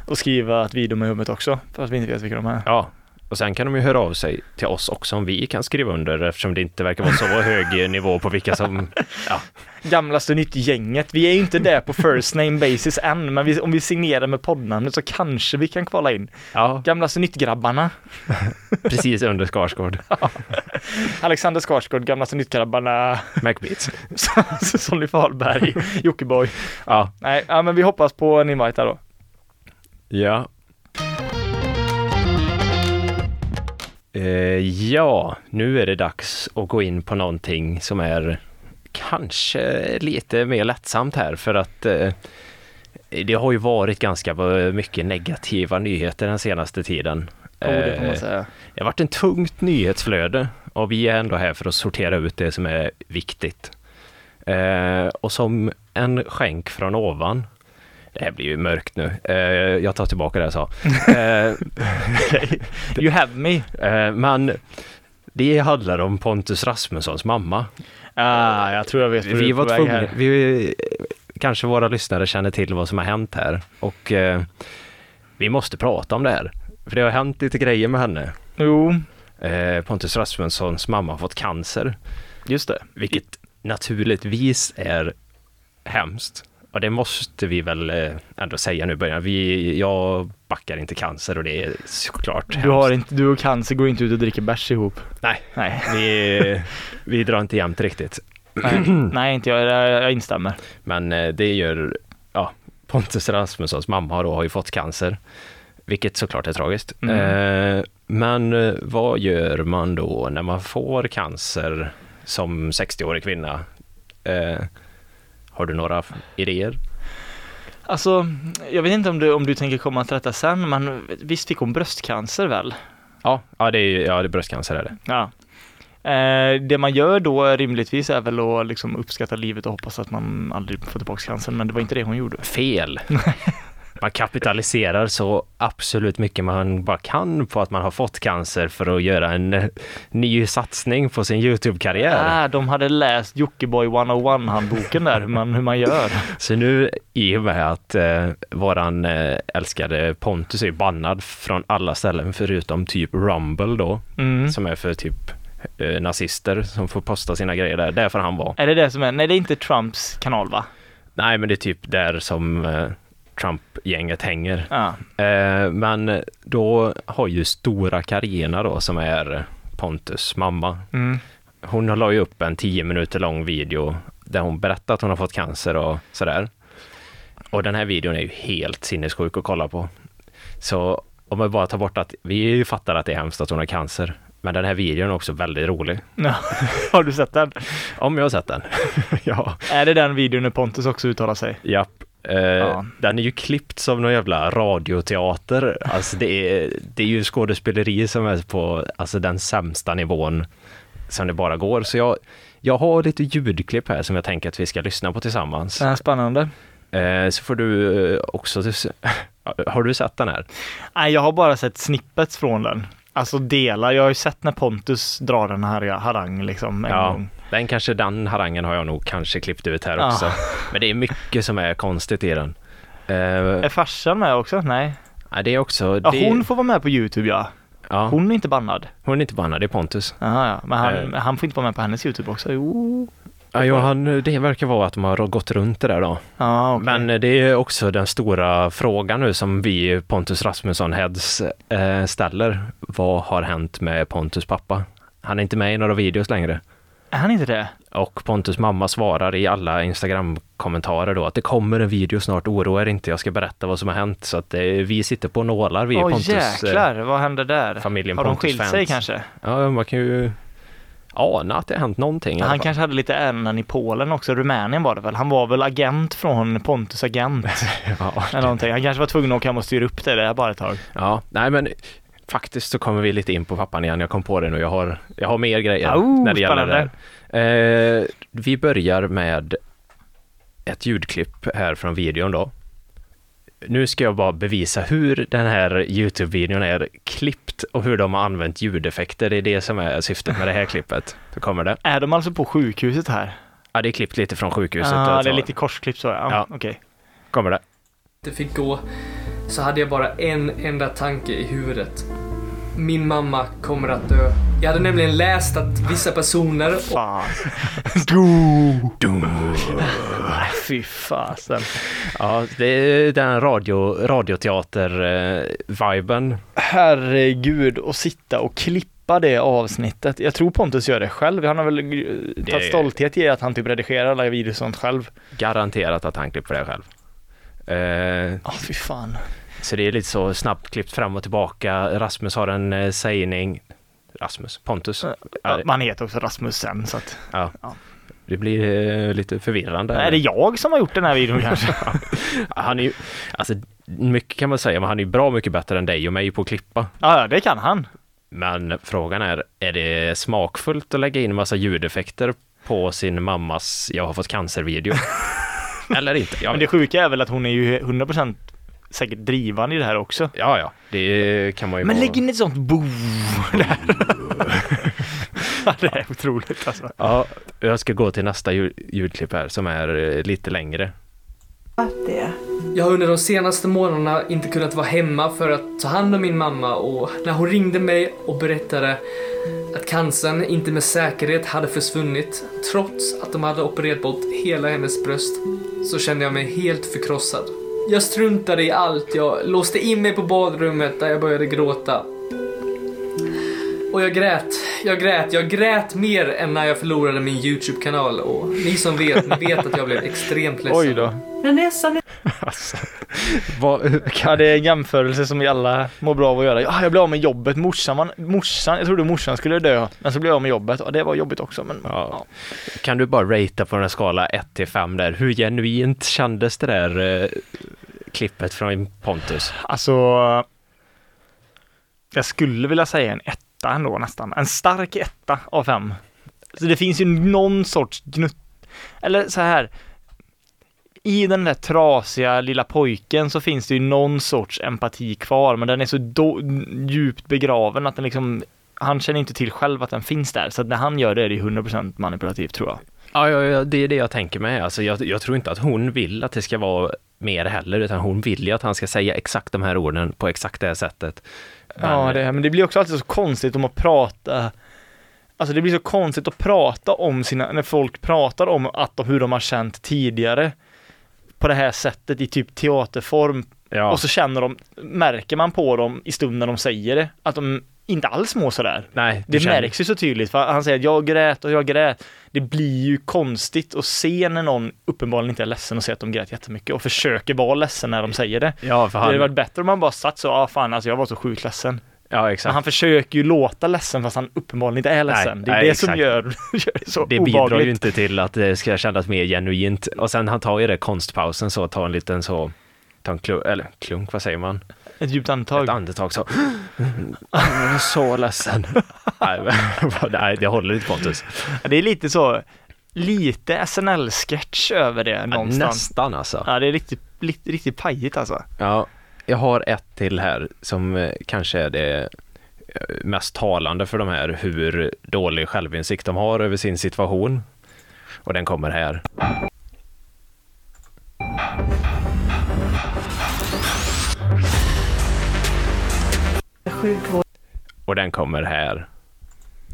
C: och skriva att vi är dumma i huvudet också, för att vi inte vet vilka de är.
B: Ja, och sen kan de ju höra av sig till oss också om vi kan skriva under eftersom det inte verkar vara så hög nivå på vilka som... Ja,
C: Gamlaste nytt-gänget, vi är ju inte där på first name basis än, men vi, om vi signerar med poddnamnet så kanske vi kan kvala in.
B: ja
C: Gamlaste nytt-grabbarna,
B: precis under Skarsgård.
C: Alexander Skarsgård, Gamlaste nytt-grabbarna,
B: MacBeats.
C: Sonny Fahlberg, Jockiboi.
B: Ja.
C: Nej, ja, men vi hoppas på en invite här då.
B: Ja. Eh, ja, nu är det dags att gå in på någonting som är kanske lite mer lättsamt här för att eh, det har ju varit ganska mycket negativa nyheter den senaste tiden.
C: Jo, det får
B: Eh,
C: man säga.
B: det har varit ett tungt nyhetsflöde och vi är ändå här för att sortera ut det som är viktigt. Eh, och som en skänk från ovan, det här blir ju mörkt nu, eh, jag tar tillbaka det jag sa. Eh,
C: You have me.
B: eh, men det handlar om Pontus Rasmussons mamma.
C: Ah, jag tror jag vet
B: Vi var tvungna, vi, kanske våra lyssnare känner till vad som har hänt här och eh, vi måste prata om det här. För det har hänt lite grejer med henne.
C: Jo,
B: Eh, Pontus Rasmussons mamma har fått cancer.
C: just det.
B: Vilket naturligtvis är hemskt. Och det måste vi väl eh, ändå säga nu i början. Vi, jag backar inte cancer och det är såklart hemskt.
C: Du, har inte, du och cancer går inte ut och dricker bärs ihop.
B: Nej,
C: Nej,
B: vi, vi drar inte jämnt riktigt.
C: nej, nej inte jag. Jag, jag instämmer.
B: Men eh, det gör, ja, Pontus Rasmussons mamma då har ju fått cancer. Vilket såklart är tragiskt.
C: Mm.
B: Eh, men eh, vad gör man då när man får cancer som 60-årig kvinna? Eh, har du några f- idéer?
C: Alltså, jag vet inte om du, om du tänker komma till detta sen, men visst fick hon bröstcancer väl?
B: Ja, ja det är, ja, det är bröstcancer är det.
C: Ja. Eh, det man gör då rimligtvis är väl att liksom uppskatta livet och hoppas att man aldrig får tillbaka cancern, men det var inte det hon gjorde.
B: Fel. Man kapitaliserar så absolut mycket man bara kan på att man har fått cancer för att göra en eh, ny satsning på sin YouTube-karriär.
C: Ah, de hade läst Jockiboi 101-handboken där, hur man, hur man gör.
B: Så nu i och med att eh, våran eh, älskade Pontus är bannad från alla ställen förutom typ Rumble då,
C: Mm.
B: som är för typ eh, nazister som får posta sina grejer där. Där får han vara.
C: Är det det som är? Nej, det är inte Trumps kanal va?
B: Nej, men det är typ där som eh, Trump-gänget hänger.
C: Ja.
B: Eh, men då har ju stora Karina då som är Pontus mamma.
C: Mm.
B: Hon la ju upp en 10 minuter lång video där hon berättar att hon har fått cancer och sådär. Och den här videon är ju helt sinnessjuk att kolla på. Så om man bara tar bort att vi fattar att det är hemskt att hon har cancer. Men den här videon är också väldigt rolig.
C: Ja. Har du sett den?
B: Om jag har sett den. ja.
C: Är det den videon när Pontus också uttalar sig?
B: Japp. Eh,
C: Ja.
B: Den är ju klippt som någon jävla radioteater. Alltså det är, det är ju skådespeleri som är på alltså den sämsta nivån som det bara går. Så jag, jag har lite ljudklipp här som jag tänker att vi ska lyssna på tillsammans.
C: Den här spännande.
B: Eh, så får du eh, också... Har du sett den här?
C: Nej, jag har bara sett snippets från den. Alltså delar. Jag har ju sett när Pontus drar den här harang liksom en
B: Ja,
C: gång.
B: den kanske, den harangen har jag nog kanske klippt ut här
C: Ja.
B: också. Men det är mycket som är konstigt i den. Eh,
C: Är farsan med också? Nej.
B: nej, det är också...
C: Ja,
B: det,
C: hon får vara med på YouTube ja.
B: ja, hon...
C: Hon är inte bannad.
B: är inte bannad, det är Pontus.
C: Jaha, ja. Men han,
B: Eh.
C: han får inte vara med på hennes YouTube också. Jo.
B: Ja, ja, han, det verkar vara att de har gått runt det där då.
C: Ja, okej.
B: Men det är också den stora frågan nu som vi Pontus Rasmusson Heads eh, ställer. Vad har hänt med Pontus pappa? Han är inte med i några videos längre.
C: Är han inte det?
B: Och Pontus mamma svarar i alla Instagram-kommentarer då att det kommer en video snart, oroa er inte, jag ska berätta vad som har hänt. Så att eh, vi sitter på nålar, vi
C: Åh
B: Pontus. eh,
C: jäklar, vad hände där?
B: familjen
C: har de
B: Pontus
C: skilt
B: fans.
C: sig kanske?
B: Ja, men man kan ju ana att det har hänt någonting. i alla
C: Han
B: fall.
C: kanske hade lite ärenden i Polen också, Rumänien var det väl? Han var väl agent från Pontus agent
B: Ja.
C: eller någonting. Han kanske var tvungen att åka hem och styra upp det där bara ett tag.
B: Ja, nej men faktiskt så kommer vi lite in på pappan igen. Jag kom på det nu. Jag har, jag har mer grejer
C: Oh,
B: när det gäller
C: spännande.
B: det här. Eh, vi börjar med ett ljudklipp här från videon då. Nu ska jag bara bevisa hur den här Youtube-videon är klippt och hur de har använt ljudeffekter. Det är det som är syftet med det här klippet. Så kommer det.
C: Är de alltså på sjukhuset här?
B: Ja, det är klippt lite från sjukhuset.
C: ah,
B: och
C: det är
B: så.
C: lite korsklipp så ja.
B: Ja.
C: Okej.
B: Kommer det.
D: inte fick gå så hade jag bara en enda tanke i huvudet. Min mamma kommer att dö. Jag hade nämligen läst att vissa personer
C: Fan. Nej, Fy fasen.
B: Ja, det är den radio, eh, radioteater-viben.
C: Herregud, och sitta och klippa det avsnittet. Jag tror Pontus gör det själv. Han har väl eh, tagit stolthet i att han typ redigerar alla videos och sånt själv.
B: Garanterat att han klipper det själv. Eh,
C: Ja, fy fan.
B: så det är lite så snabbt klippt fram och tillbaka. Rasmus har en eh, sägning. Rasmus? Pontus? Ja,
C: Eh, Ja,
B: det-
C: man heter också Rasmussen så att...
B: Ja.
C: Ja.
B: Det blir eh, lite förvirrande.
C: Är det jag som har gjort den här videon kanske?
B: Han är ju, alltså, mycket kan man säga, men han är ju bra mycket bättre än dig och mig på att klippa.
C: Ja, ja, det kan han.
B: Men frågan är, är det smakfullt att lägga in massa ljudeffekter på sin mammas jag har fått cancer-video? Eller inte? Jag
C: Men det sjuka är väl att hon är ju 100% säkert drivande i det här också.
B: Ja, ja, det kan man ju
C: Men
B: bara-
C: lägg in ett sånt bo där. det är otroligt alltså.
B: Ja, jag ska gå till nästa ljud, ljudklipp här som är eh, lite längre.
E: att det.
D: Jag har under de senaste månaderna inte kunnat vara hemma för att ta hand om min mamma och när hon ringde mig och berättade att cancern inte med säkerhet hade försvunnit trots att de hade opererat bort hela hennes bröst så kände jag mig helt förkrossad. Jag struntade i allt, jag låste in mig på badrummet där jag började gråta. Och jag grät, jag grät, jag grät mer än när jag förlorade min YouTube-kanal och ni som vet, ni vet att jag blev extremt ledsen.
C: Oj då.
E: När nästan
B: Alltså, vad,
C: Ja, det är en jämförelse som vi alla mår bra av att göra. Ja, jag blev av med jobbet. Morsan, var- morsan, jag trodde morsan skulle dö, men så blev jag av med jobbet. Ja, det var jobbigt också, men ja.
B: kan du bara ratea på den här skala 1 till 5 där? Hur genuint kändes det där eh, klippet från Pontus?
C: Alltså, jag skulle vilja säga en etta ändå nästan. En stark etta av fem. Så det finns ju någon sorts gnutt... Eller så här. I den där trasiga lilla pojken så finns det ju någon sorts empati kvar, men den är så do- djupt begraven att den liksom... Han känner inte till själv att den finns där, så att när han gör det är det ju 100% manipulativt tror jag.
B: Ja, ja, ja, det är det jag tänker med. Alltså, jag, jag tror inte att hon vill att det ska vara mer heller, utan hon vill ju att han ska säga exakt de här orden på exakt det här sättet.
C: Ja, det, men det blir också alltid så konstigt om att prata Alltså det blir så konstigt att prata om sina, när folk pratar om att de, hur de har känt tidigare på det här sättet i typ teaterform
B: Ja,
C: och så känner de, märker man på dem i stunden de säger det, att de inte alls mår sådär.
B: nej, du
C: Det
B: känner-
C: märks ju så tydligt, för han säger att jag grät och jag grät. Det blir ju konstigt att se när någon uppenbarligen inte är ledsen och säger att de grät jättemycket och försöker vara ledsen när de säger det.
B: Ja, för
C: Det hade varit
B: han,
C: bättre om man bara satt så, ja ah, fan alltså jag var så sjukt ledsen.
B: ja,
C: Men
B: exakt.
C: han försöker ju låta ledsen fast han uppenbarligen inte är ledsen. det är
B: nej,
C: det som
B: exakt.
C: gör, gör det så
B: det bidrar
C: obehagligt.
B: ju inte till att det ska kännas mer genuint. Och sen han tar ju det konstpausen så, tar en liten så, tar en klunk, eller klunk, vad säger man?
C: Ett djupt
B: Ett
C: andetag.
B: andetag så. Jag är så ledsen. nej, men- nej, det håller inte Pontus.
C: Det är lite så, lite SNL-sketch över det
B: Ja,
C: någonstans.
B: Nästan alltså.
C: Ja, det är riktigt, riktigt, riktigt pajigt alltså.
B: Ja, jag har ett till här som eh, kanske är det eh, mest talande för de här hur dålig självinsikt de har över sin situation. Och den kommer här.
E: sjukvården
B: Och den kommer här.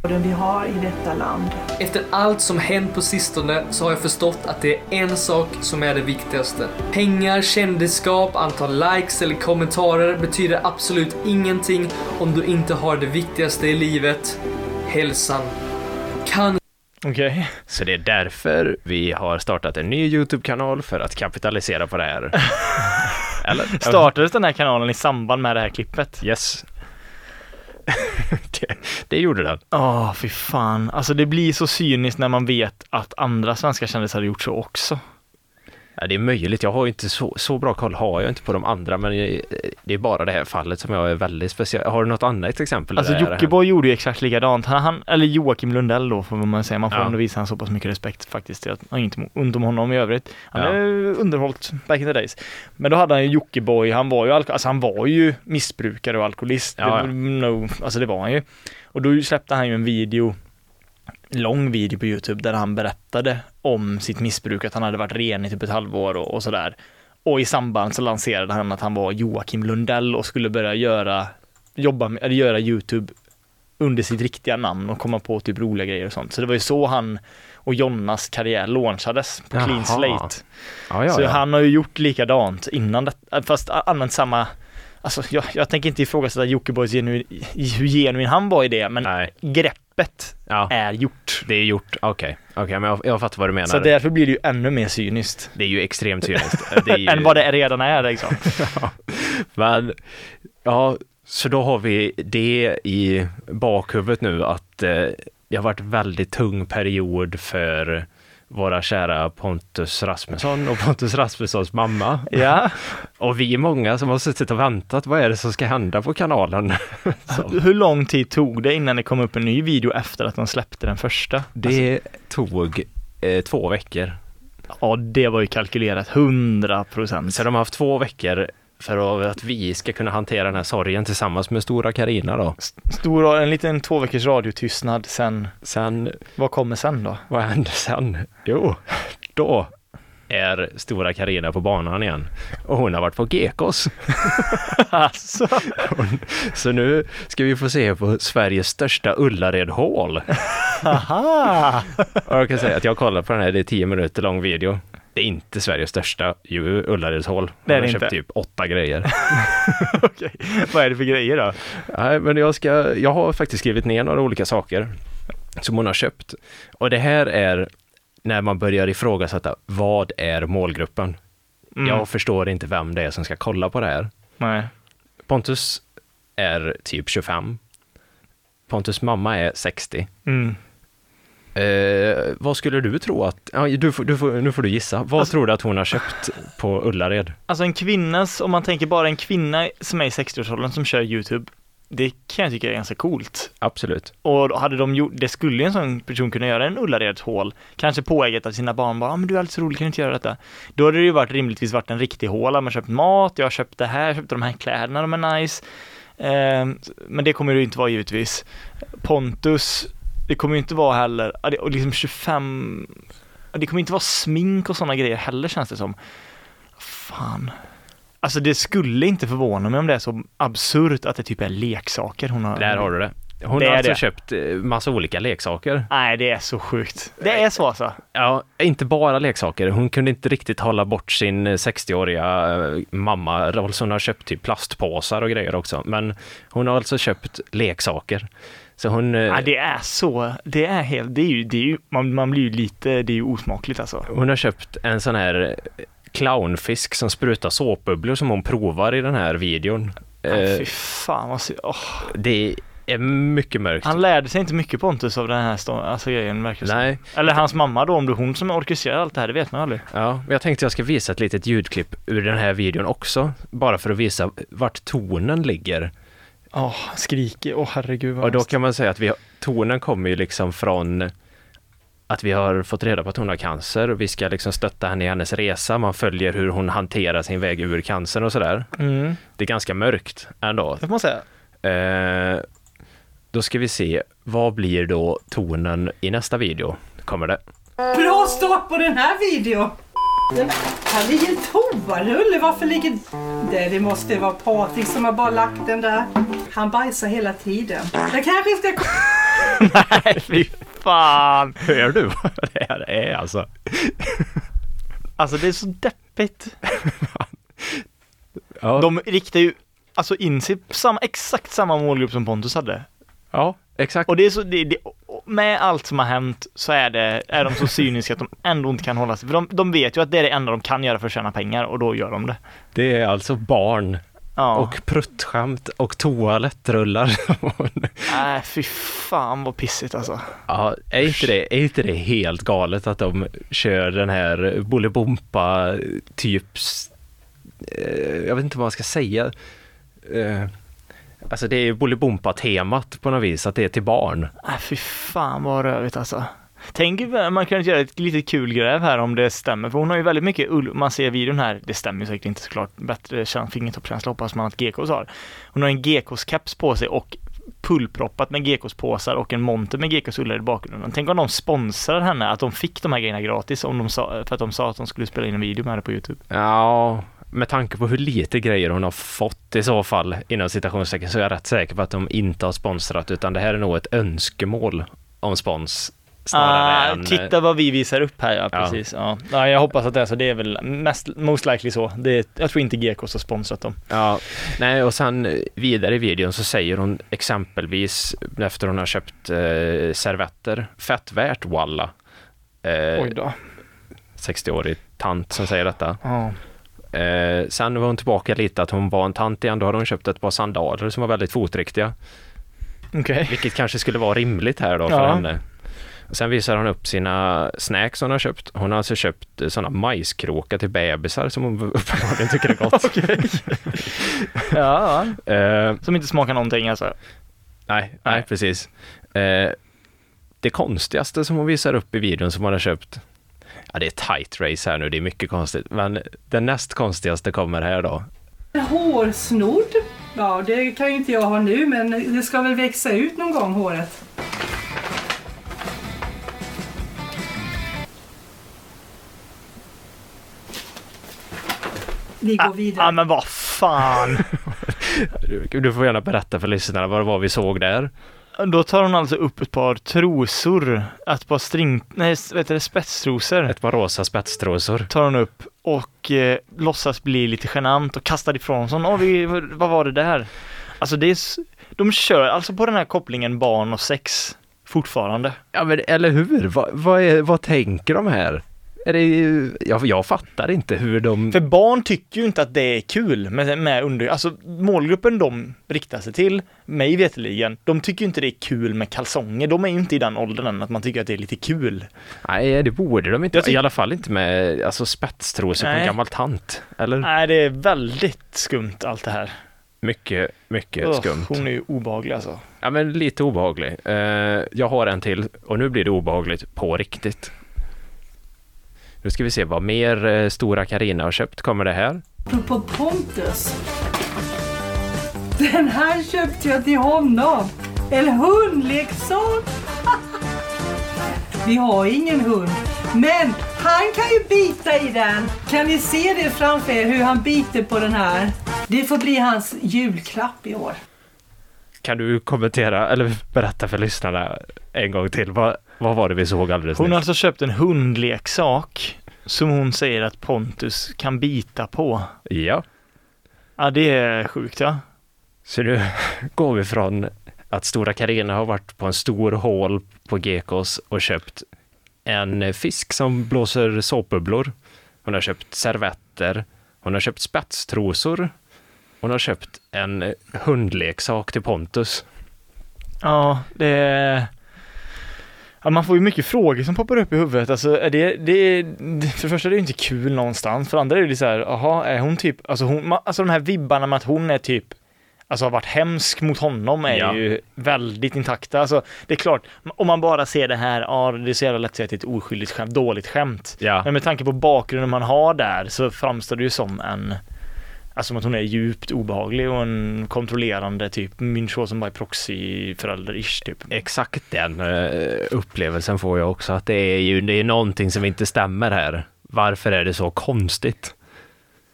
E: vi har i detta land.
D: Efter allt som hänt på sistone så har jag förstått att det är en sak som är det viktigaste. Pengar, kändisskap, antal likes eller kommentarer betyder absolut ingenting om du inte har det viktigaste i livet, hälsan. Kanske
C: Okej.
B: Så det är därför vi har startat en ny YouTube-kanal för att kapitalisera på det här. Eller?
C: Startades den här kanalen i samband med det här klippet?
B: Yes. det, det gjorde den.
C: Åh, fy fan. Alltså det blir så cyniskt när man vet att andra svenska kändisar har gjort så också.
B: Ja, det är möjligt. Jag har ju inte så, så bra koll har jag inte på de andra, men eh, det är bara det här fallet som jag är väldigt speciell. Har du något annat exempel?
C: Alltså
B: där det har hänt?
C: Jockiboi gjorde ju exakt likadant. Han, han, eller Joakim Lundell då får man säga. Man får
B: Ja.
C: ändå visa han så pass mycket respekt faktiskt. Jag har inte ont om honom i övrigt. Han
B: Ja.
C: är underhållt back in the days. Men då hade han ju Jockiboi, han var ju, alko- alltså han var ju missbrukare och alkoholist.
B: Ja, ja.
C: Det, no, alltså det var han ju. Och då släppte han ju en video lång video på Youtube där han berättade om sitt missbruk, att han hade varit ren i typ ett halvår och, och sådär. Och i samband så lanserade han att han var Joakim Lundell och skulle börja göra, jobba med, eller göra Youtube under sitt riktiga namn och komma på typ roliga grejer och sånt. Så det var ju så han och Jonnas karriär launchades på
B: Jaha.
C: Clean Slate.
B: Ja, ja,
C: Så
B: ja.
C: han har ju gjort likadant innan det, fast använt samma Alltså jag, jag tänker inte ifrågasätta Jockibois genuin, hur genuin han var i det, men
B: Nej,
C: greppet
B: ja,
C: är gjort.
B: det är gjort. Okej, okej, men jag, jag fattar vad du menar.
C: Så
B: det...
C: därför blir det ju ännu mer cyniskt.
B: är ju extremt cyniskt. Det är ju...
C: Än vad det är redan är liksom.
B: Men, ja, så då har vi det i bakhuvudet nu att eh, det har varit väldigt tung period för våra kära Pontus Rasmusson och Pontus Rasmussons mamma.
C: ja.
B: Och vi är många som har suttit och väntat, vad är det som ska hända på kanalen? Så,
C: Hur lång tid tog det innan det kom upp en ny video efter att de släppte den första?
B: det tog eh, två veckor.
C: Ja, det var ju kalkylerat 100 procent.
B: Så de har haft två veckor för att vi ska kunna hantera den här sorgen tillsammans med stora Karina då.
C: Stor, en liten två veckors radiotystnad sen.
B: Sen
C: Vad kommer sen då?
B: Vad händer sen? Jo, då är stora Karina på banan igen och hon har varit på Gekos.
C: Alltså.
B: Så nu ska vi få se på Sveriges största Ullared Hall.
C: Aha!
B: Och jag kan säga att jag kollar på den här, det är 10 minuter lång video. Det är inte Sveriges största ju, Ullareds Hall.
C: Det är
B: Hon har
C: det
B: köpt
C: inte.
B: typ åtta grejer.
C: Okej, vad är det för grejer då?
B: Nej, men jag, ska, jag har faktiskt skrivit ner några olika saker som hon har köpt. Och det här är när man börjar ifrågasätta, vad är målgruppen?
C: Mm.
B: Jag förstår inte vem det är som ska kolla på det här.
C: Nej.
B: Pontus är typ 25. Pontus mamma är 60.
C: Mm.
B: Eh, vad skulle du tro att, ja, du får, du får, nu får du gissa, vad tror du att hon har köpt på Ullared?
C: Alltså en kvinnas, om man tänker bara en kvinna som är i 60-årsåldern som kör YouTube, Det kan jag tycka är ganska coolt.
B: Absolut.
C: Och hade de gjort, det skulle ju en sån person kunna göra, en Ullared hål, kanske påägget av sina barn bara, ah, men du är alltid så rolig, kan du inte göra detta? Då hade det ju varit rimligtvis varit en riktig håla, man köpt mat, jag har köpt det här, jag köpte de här kläderna, de är nice. Ehm, men det kommer det ju inte vara givetvis. Pontus, det kommer ju inte vara heller, ja, det- och liksom 25, ja, det kommer inte vara smink och sådana grejer heller känns det som. Fan. Alltså det skulle inte förvåna mig om det är så absurt att det typ är leksaker hon har.
B: Där har du det. Hon
C: Det
B: har
C: är
B: alltså
C: det.
B: köpt eh, massa olika leksaker.
C: Nej, det är så sjukt. Det är så alltså.
B: Ja, inte bara leksaker. Hon kunde inte riktigt hålla bort sin eh, 60-åriga eh, mamma. Alltså hon har köpt typ plastpåsar och grejer också. Men hon har alltså köpt leksaker. Så hon... eh,
C: Nej, det är så. Det är helt, det är ju, det är ju man, man blir ju lite, det är ju osmakligt alltså.
B: Hon har köpt en sån här eh, clownfisk som sprutar såpbubblor som hon provar i den här videon.
C: Nej,
B: Eh,
C: fy fan vad sy- åh.
B: det är mycket mörkt.
C: Han lärde sig inte mycket Pontus av den här stå- alltså, grejen verkar det som.
B: Nej,
C: Eller hans mamma då, om det är hon som orkestrerar allt det här, det vet man aldrig.
B: ja, men jag tänkte jag ska visa ett litet ljudklipp ur den här videon också. Bara för att visa vart tonen ligger.
C: Åh, skriker, åh herregud vad
B: Och då kan man säga att vi, har- tonen kommer ju liksom från att vi har fått reda på att hon har cancer och vi ska liksom stötta henne i hennes resa. Man följer hur hon hanterar sin väg ur cancern och sådär.
C: Mm,
B: Det är ganska mörkt ändå.
C: det får man säga.
B: Eh, då ska vi se, vad blir då tonen i nästa video? Kommer det?
E: Bra start på den här videon! Den här ligger en toarulle, varför ligger... Det, det måste vara Patrik som har bara lagt den där. Han bajsar hela tiden. Jag kanske ska...
C: Nej, fy fan.
B: Hör du vad det här är alltså?
C: Alltså det är så deppigt.
B: Ja,
C: De riktar ju, alltså in sig på samma, exakt samma målgrupp som Pontus hade.
B: ja exakt.
C: Och det är så, det, det, och med allt som har hänt så är, det, är de så cyniska att de ändå inte kan hålla sig. För de, de vet ju att det är det enda de kan göra för att tjäna pengar och då gör de det.
B: Det är alltså barn
C: Ja.
B: och pruttskämt och toalettrullar.
C: Nej, Äh, fy fan vad pissigt alltså.
B: ja, är, inte det, är inte det helt galet att de kör den här bolibompa typs eh, jag vet inte vad man ska säga. Eh, alltså det är ju Bolibompa-temat på något vis, att det är till barn.
C: Nej, Ah, fy fan vad rövigt alltså. Tänk om man kunde göra ett litet kul gräv här om det stämmer, för hon har ju väldigt mycket ull, man ser i videon här, det stämmer ju säkert inte såklart, bättre kän- fingertoppskänsla hoppas man att GKs har. Hon har en GKs-keps på sig och pullproppat med GKs-påsar och en monter med GKs ullar i bakgrunden. Tänk om de sponsrar henne, att de fick de här grejerna gratis om de sa, för att de sa att de skulle spela in en video med det på YouTube.
B: Ja, med tanke på hur lite grejer hon har fått i så fall inom citationstecken så är jag rätt säker på att de inte har sponsrat utan det här är nog ett önskemål om spons snarare
C: Ah,
B: än... eh,
C: titta vad vi visar upp här, ja
B: Ja.
C: precis. Ja. Ja, jag hoppas att det är så, det är väl mest, most likely så. Det är, jag tror inte GKs har sponsrat dem.
B: Ja, nej och sen eh, vidare i videon så säger hon exempelvis efter hon har köpt eh, servetter, fett värt walla. Eh,
C: Oj då.
B: 60-årig tant som säger detta.
C: Ja.
B: Eh, sen var hon tillbaka lite att hon var en tant igen, då hade hon köpt ett par sandaler som var väldigt fotriktiga.
C: Okej.
B: Vilket kanske skulle vara rimligt här då för
C: Ja.
B: henne. Och sen visar hon upp sina snacks hon har köpt. Hon har alltså köpt eh, såna majskråkar till bebisar som hon uppenbarligen tycker är gott.
C: Ja, ja.
B: Eh,
C: Som inte smakar någonting alltså.
B: nej, nej, precis. Eh, det konstigaste som hon visar upp i videon som hon har köpt. Ja, det är tight race här nu, det är mycket konstigt. Men det näst konstigaste kommer här då.
E: En hårsnodd? Ja, det kan ju inte jag ha nu, men det ska väl växa ut någon gång, håret. Vi går vidare.
C: Ja Ah, men vad fan.
B: Du, du får gärna berätta för lyssnarna vad det var vi såg där.
C: Då tar hon alltså upp ett par trosor. Ett par string... Nej, vad heter det? Spetstrosor.
B: Ett par rosa spetstrosor.
C: Tar hon upp och eh, låtsas bli lite genant och kastar ifrån sig. Åh, vi, vad var det där? Alltså det är... s- De kör alltså på den här kopplingen barn och sex fortfarande.
B: Ja men eller hur? Vad, vad, är, vad tänker de här? Är det, ju- jag, jag fattar inte hur de...
C: För barn tycker ju inte att det är kul med, med under... Alltså målgruppen de riktar sig till, mig veterligen, de tycker ju inte det är kul med kalsonger. De är ju inte i den åldern än att man tycker att det är lite kul.
B: Nej det borde de inte
C: Jag tyck-
B: I alla fall inte med alltså, spetstrosor på en
C: Nej.
B: gammal tant. Eller?
C: Nej, det är väldigt skumt allt det här.
B: Mycket, mycket
C: Ugh,
B: skumt.
C: Hon är ju obehaglig alltså.
B: Ja, men lite obehaglig. Eh, jag har en till och nu blir det obehagligt på riktigt. Nu ska vi se vad mer eh, Stora Karina har köpt. Kommer det här?
E: Apropå Pontus. Den här köpte jag till honom. En hundleksak. Vi har ingen hund. Men han kan ju bita i den. Kan ni se det framför er hur han biter på den här? Det får bli hans julklapp i år.
B: Kan du kommentera eller berätta för lyssnarna en gång till? Vad, vad var det vi såg alldeles
C: Hon har
B: nyss?
C: alltså köpt en hundleksak som hon säger att Pontus kan bita på.
B: Ja,
C: Ja, det är sjukt ja.
B: så nu går vi från att Stora Karina har varit på en stor hål på Gekos och köpt en eh, fisk som blåser såpbubblor. Hon har köpt servetter. Hon har köpt spetstrosor. Hon har köpt en eh, hundleksak till Pontus.
C: Ja, det är... Ja, man får ju mycket frågor som poppar upp i huvudet. Alltså, är det, det, det, för det första är det ju inte kul någonstans. För det andra är det så här, aha, är hon typ, alltså, hon, ma- alltså de här vibbarna med att hon är typ, alltså har varit hemsk mot honom är
B: Ja.
C: ju väldigt intakta. Alltså, det är klart, om man bara ser det här, ja, det är så jävla lätt att säga att det är ett oskyldigt skämt, dåligt skämt.
B: Ja.
C: Men med tanke på bakgrunden man har där så framstår det ju som en Alltså som att hon är djupt obehaglig och en kontrollerande typ Minchot som bara är proxyförälder-ish typ.
B: Exakt den eh, upplevelsen får jag också, att det är ju det är någonting som inte stämmer här. Varför är det så konstigt?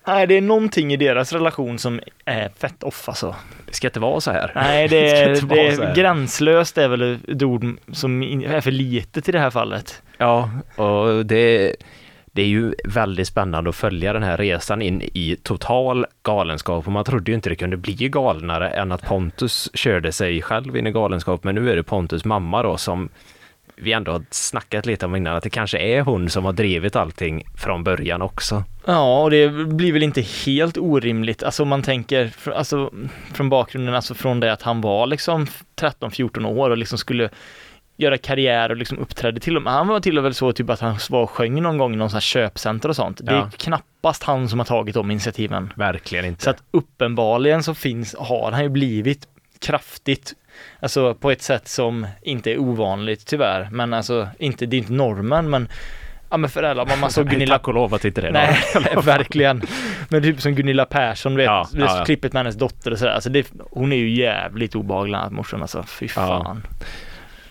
C: Nej, det är någonting i deras relation som är fett off alltså.
B: Det ska inte vara så här.
C: Nej, det
B: Det
C: är,
B: ska inte
C: det
B: vara så här.
C: är gränslöst är väl ett ord som in- är för litet i det här fallet.
B: Ja, och det, det är ju väldigt spännande att följa den här resan in i total galenskap. Och man trodde ju inte det kunde bli galnare än att Pontus körde sig själv in i galenskap. Men nu är det Pontus mamma då som vi ändå har snackat lite om innan, att det kanske är hon som har drivit allting från början också.
C: Ja, och det blir väl inte helt orimligt. Alltså om man tänker, fr- alltså från bakgrunden, alltså från det att han var liksom 13-14 år och liksom skulle göra karriär och liksom uppträdde till och med, han var till och med så typ att han var och sjöng någon gång i någon sån här köpcenter och sånt. Det är
B: Ja.
C: knappast han som har tagit de initiativen.
B: Verkligen inte.
C: Så att uppenbarligen så finns, har han ju blivit kraftigt, alltså på ett sätt som inte är ovanligt tyvärr, men alltså inte, det är inte normen, men Ja men föräldrar, man- man såg Gunilla
B: Tack och lov att inte det är
C: Nej, verkligen. Men typ som Gunilla Persson, du vet,
B: Ja,
C: du vet
B: ja, ja.
C: klippet med hennes dotter och sådär. Alltså det, hon är ju jävligt obehaglig den här morsan alltså. Fy fan.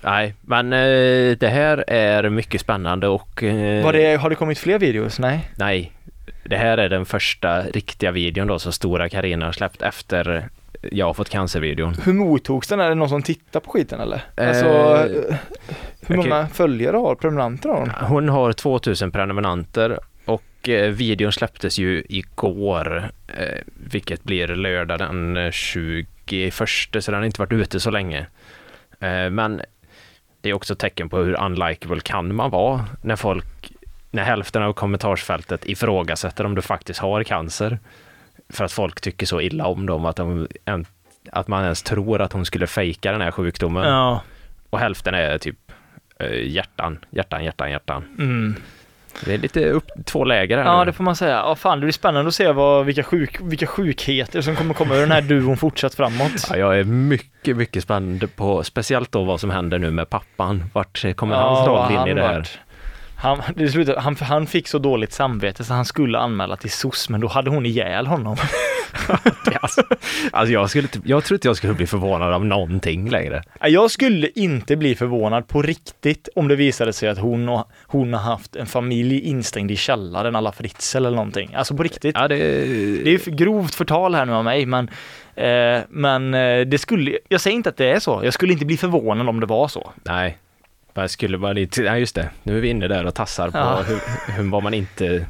B: Nej, men eh, det här är mycket spännande och... eh,
C: Var det, har det kommit fler videos? Nej?
B: Nej, det här är den första riktiga videon då som Stora Karina har släppt efter jag har fått cancer-videon.
C: Hur mottogs den? Är det någon som tittar på skiten eller?
B: Eh,
C: alltså,
B: eh,
C: hur
B: okej.
C: många följare har prenumeranter har hon?
B: Hon har 2000 prenumeranter och eh, videon släpptes ju igår, eh, vilket blir lördag den eh, 21, så den har inte varit ute så länge. Eh, men det är också tecken på hur unlikable kan man vara när folk, när hälften av kommentarsfältet ifrågasätter om du faktiskt har cancer. För att folk tycker så illa om dem att, de, en- att man ens tror att hon skulle fejka den här sjukdomen.
C: Ja.
B: Och hälften är typ eh, hjärtan, hjärtan, hjärtan, hjärtan.
C: Mm.
B: Det är lite upp, två läger här
C: Ja,
B: nu.
C: det får man säga. Ja, fan, det blir spännande att se vad, vilka, sjuk, vilka sjukheter som kommer komma ur den här duon fortsatt framåt.
B: Ja, jag är mycket, mycket spänd på, speciellt då vad som händer nu med pappan. Vart kommer hans
C: vad
B: roll in i det här?
C: vart. Han, det slutade, han, han fick så dåligt samvete så han skulle anmäla till SOS men då hade hon ihjäl honom.
B: Det är Alltså, alltså jag, skulle, inte- jag tror inte jag skulle bli förvånad av någonting längre.
C: Jag skulle inte bli förvånad på riktigt om det visade sig att hon, och, hon har haft en familj instängd i källaren alla Fritzl eller någonting. Alltså på riktigt.
B: Ja, det,
C: Det är ju för grovt förtal här nu av mig men, eh, men eh, det skulle, jag säger inte att det är så. Jag skulle inte bli förvånad om det var så.
B: Nej, man skulle bara inte... Nej, just det. Nu är vi inne där och tassar på
C: Ja.
B: hur, hur vad man inte...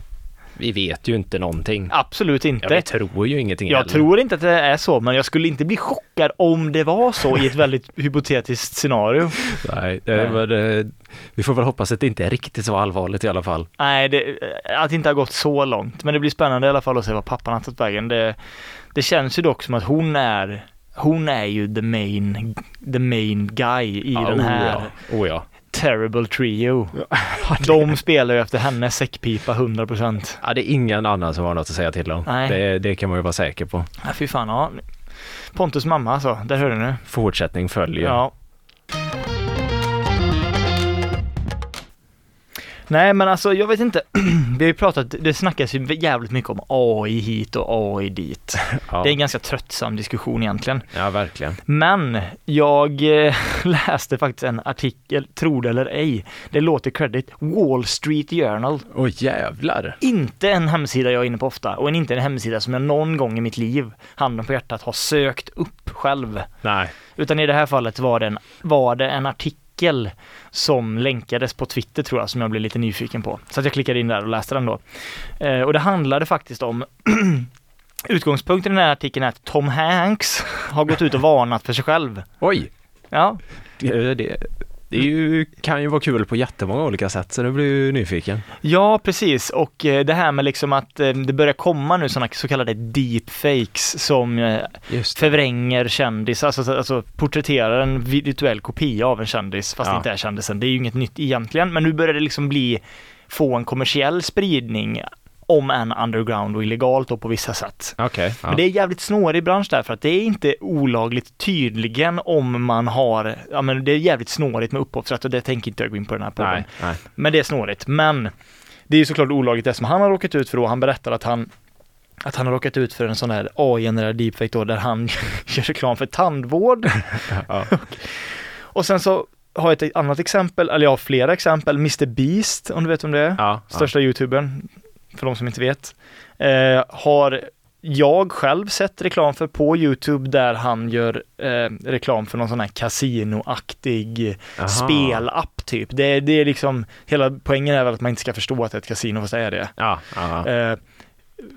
B: Vi vet ju inte någonting.
C: Absolut
B: Ja,
C: inte.
B: vi tror ju ingenting
C: Jag
B: heller.
C: tror inte att det är så, men jag skulle inte bli chockad om det var så i ett väldigt hypotetiskt scenario.
B: Nej, det, men, eh, vi får väl hoppas att det inte är riktigt så allvarligt i alla fall.
C: Nej, det, att det inte har gått så långt. Men det blir spännande i alla fall att se vad pappan har tagit vägen. Det, det känns ju dock som att hon är, hon är ju the main, the main guy i den här
B: Oh ja. Oh ja.
C: terrible trio. De spelar ju efter hennes säckpipa 100%.
B: ja, det är ingen annan som har något att säga till om.
C: Nej.
B: Det, det kan man ju vara säker på.
C: Ja, fy fan, ja. Pontus mamma alltså, där hörde ni.
B: Fortsättning följer.
C: Ja. Nej men alltså jag vet inte, vi har ju pratat, det snackas ju jävligt mycket om AI hit och AI dit.
B: ja.
C: Det är en ganska tröttsam diskussion egentligen.
B: ja verkligen.
C: Men jag eh, läste faktiskt en artikel, tro det eller ej, det låter credit, Wall Street Journal.
B: Åh jävlar.
C: Inte en hemsida jag är inne på ofta och en- inte en hemsida som jag någon gång i mitt liv, handen på hjärtat, har sökt upp själv.
B: Nej.
C: Utan i det här fallet var det en, var det en artikel som länkades på Twitter tror jag, som jag blev lite nyfiken på. Så att jag klickade in där och läste den då. Eh, och det handlade faktiskt om Utgångspunkten i den här artikeln är att Tom Hanks har gått ut och varnat för sig själv.
B: Oj.
C: Ja,
B: Det, det, det är ju, kan ju vara kul på jättemånga olika sätt så nu blir jag ju nyfiken.
C: ja precis. Och eh, det här med liksom att eh, det börjar komma nu sådana så kallade deepfakes som eh,
B: Just det.
C: förvränger kändisar, alltså, alltså porträtterar en virtuell kopia av en kändis fast
B: Ja.
C: det inte är kändisen. Det är ju inget nytt egentligen, men nu börjar det liksom bli, få en kommersiell spridning om än underground och illegalt då på vissa sätt.
B: Okej.
C: Men det är jävligt snårig bransch där för att det är inte olagligt tydligen om man har, ja men det är jävligt snårigt med upphovsrätt och det tänker inte jag gå in på den här podden.
B: Nej, nej.
C: Men det är snårigt. Men det är ju såklart olagligt det som han har råkat ut för då. Han berättar att han att han har råkat ut för en sån här AI-genererad deepfake då där han gör reklam för tandvård.
B: Ja.
C: Och sen så har jag ett annat exempel, eller jag har flera exempel. Mr Beast, om du vet om det är.
B: Ja, ja.
C: Största youtubern, för de som inte vet. Eh, har jag själv sett reklam för på Youtube där han gör eh, reklam för någon sån här kasinoaktig
B: Aha.
C: spelapp typ. Det, är- det är liksom, hela poängen är väl att man inte ska förstå att det är ett kasino fast det är det.
B: Ja, ja, ja.
C: Eh,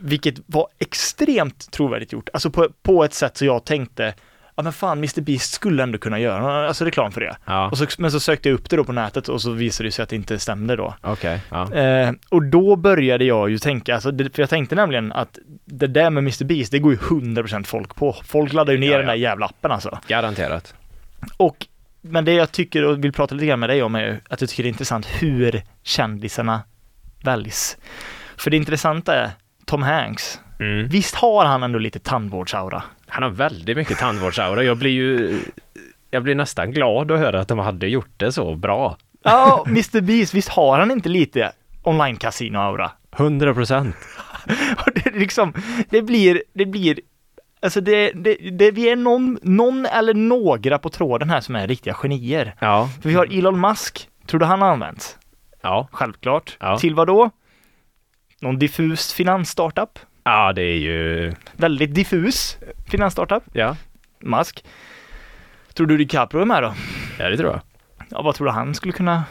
C: vilket var extremt trovärdigt gjort, alltså på, på ett sätt så jag tänkte, ja men fan Mr Beast skulle ändå kunna göra någon- alltså reklam för det.
B: ja.
C: Och så, men så sökte jag upp det då på nätet och så visade det sig att det inte stämde då.
B: Okej. Ja.
C: Eh, och då började jag ju tänka, alltså, det, för jag tänkte nämligen att det där med Mr Beast, det går ju 100% folk på. Folk laddar ju ner
B: Ja, ja.
C: den där jävla appen alltså.
B: Garanterat.
C: Och, men det jag tycker och vill prata lite grann med dig om är ju att jag tycker det är intressant hur kändisarna väljs. För det intressanta är Tom Hanks.
B: Mm.
C: Visst har han ändå lite tandvårdsaura?
B: Han har väldigt mycket tandvårdsaura. Jag blir ju... Jag blir nästan glad att höra att de hade gjort det så bra.
C: Ja, Mr Beast, visst har han inte lite online casino-aura?
B: 100 procent.
C: Och det, är liksom, det blir, det blir, alltså det, det, det vi är någon, någon eller några på tråden här som är riktiga genier.
B: Ja.
C: För vi har Elon Musk, tror du han har använts?
B: Ja.
C: Självklart.
B: Ja.
C: Till vad då? Någon diffus finansstartup?
B: Ja, det är ju...
C: Väldigt diffus finansstartup,
B: Ja,
C: Musk. Tror du DiCaprio är med då?
B: ja det tror jag.
C: Ja, vad tror du han skulle kunna?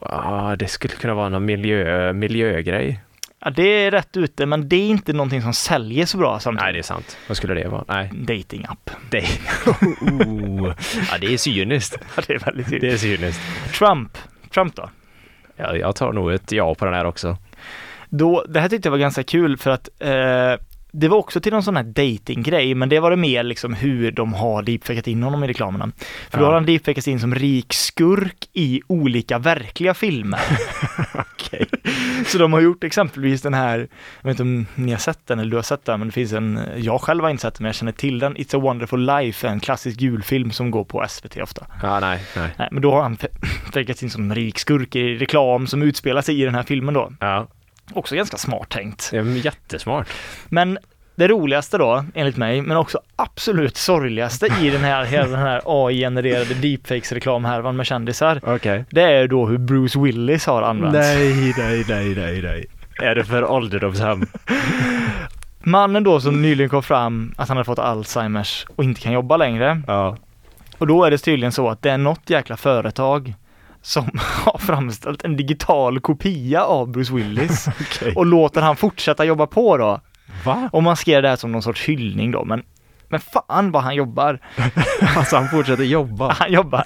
B: Ja, det skulle kunna vara någon miljö, miljögrej.
C: Ja, det är rätt ute, men det är inte någonting som säljer så bra
B: Nej, det är
C: samtidigt.
B: sant. Vad skulle det vara? Nej.
C: Dating-app.
B: Det... Oh. Ja, det är cyniskt.
C: Ja, det är väldigt
B: Det är cyniskt.
C: Trump. Trump då?
B: Ja, jag tar nog ett ja på den här också.
C: då, det här tyckte jag var ganska kul för att eh, det var också till någon sån här datinggrej men det var det mer liksom hur de har deepfakat in honom i reklamerna. För då
B: Ja.
C: har han deepfakats in som rik skurk i olika verkliga filmer. Så de har gjort exempelvis den här, jag vet inte om ni har sett den eller du har sett den, men det finns en, jag själv har inte sett den men jag känner till den, It's a wonderful life, en klassisk julfilm som går på SVT ofta.
B: Ja, nej, nej.
C: Nej, men då har han fejkats in som rik skurk i reklam som utspelar sig i den här filmen då.
B: Ja,
C: Också ganska smart tänkt.
B: det är jättesmart.
C: Men det roligaste då, enligt mig, men också absolut sorgligaste i den här, hela den här AI-genererade deepfakes-reklamhärvan med kändisar,
B: Okej.
C: det är då hur Bruce Willis har använts.
B: Nej, nej, nej, nej, nej. Är det för ålderdomshem?
C: Mannen då som nyligen kom fram att han hade fått Alzheimers och inte kan jobba längre.
B: Ja.
C: Och då är det tydligen så att det är något jäkla företag som har framställt en digital kopia av Bruce Willis
B: Okej.
C: och låter han fortsätta jobba på då.
B: Va?
C: Och man skrev det här som någon sorts hyllning då, men, men fan vad han jobbar.
B: Alltså han fortsätter jobba.
C: Han jobbar.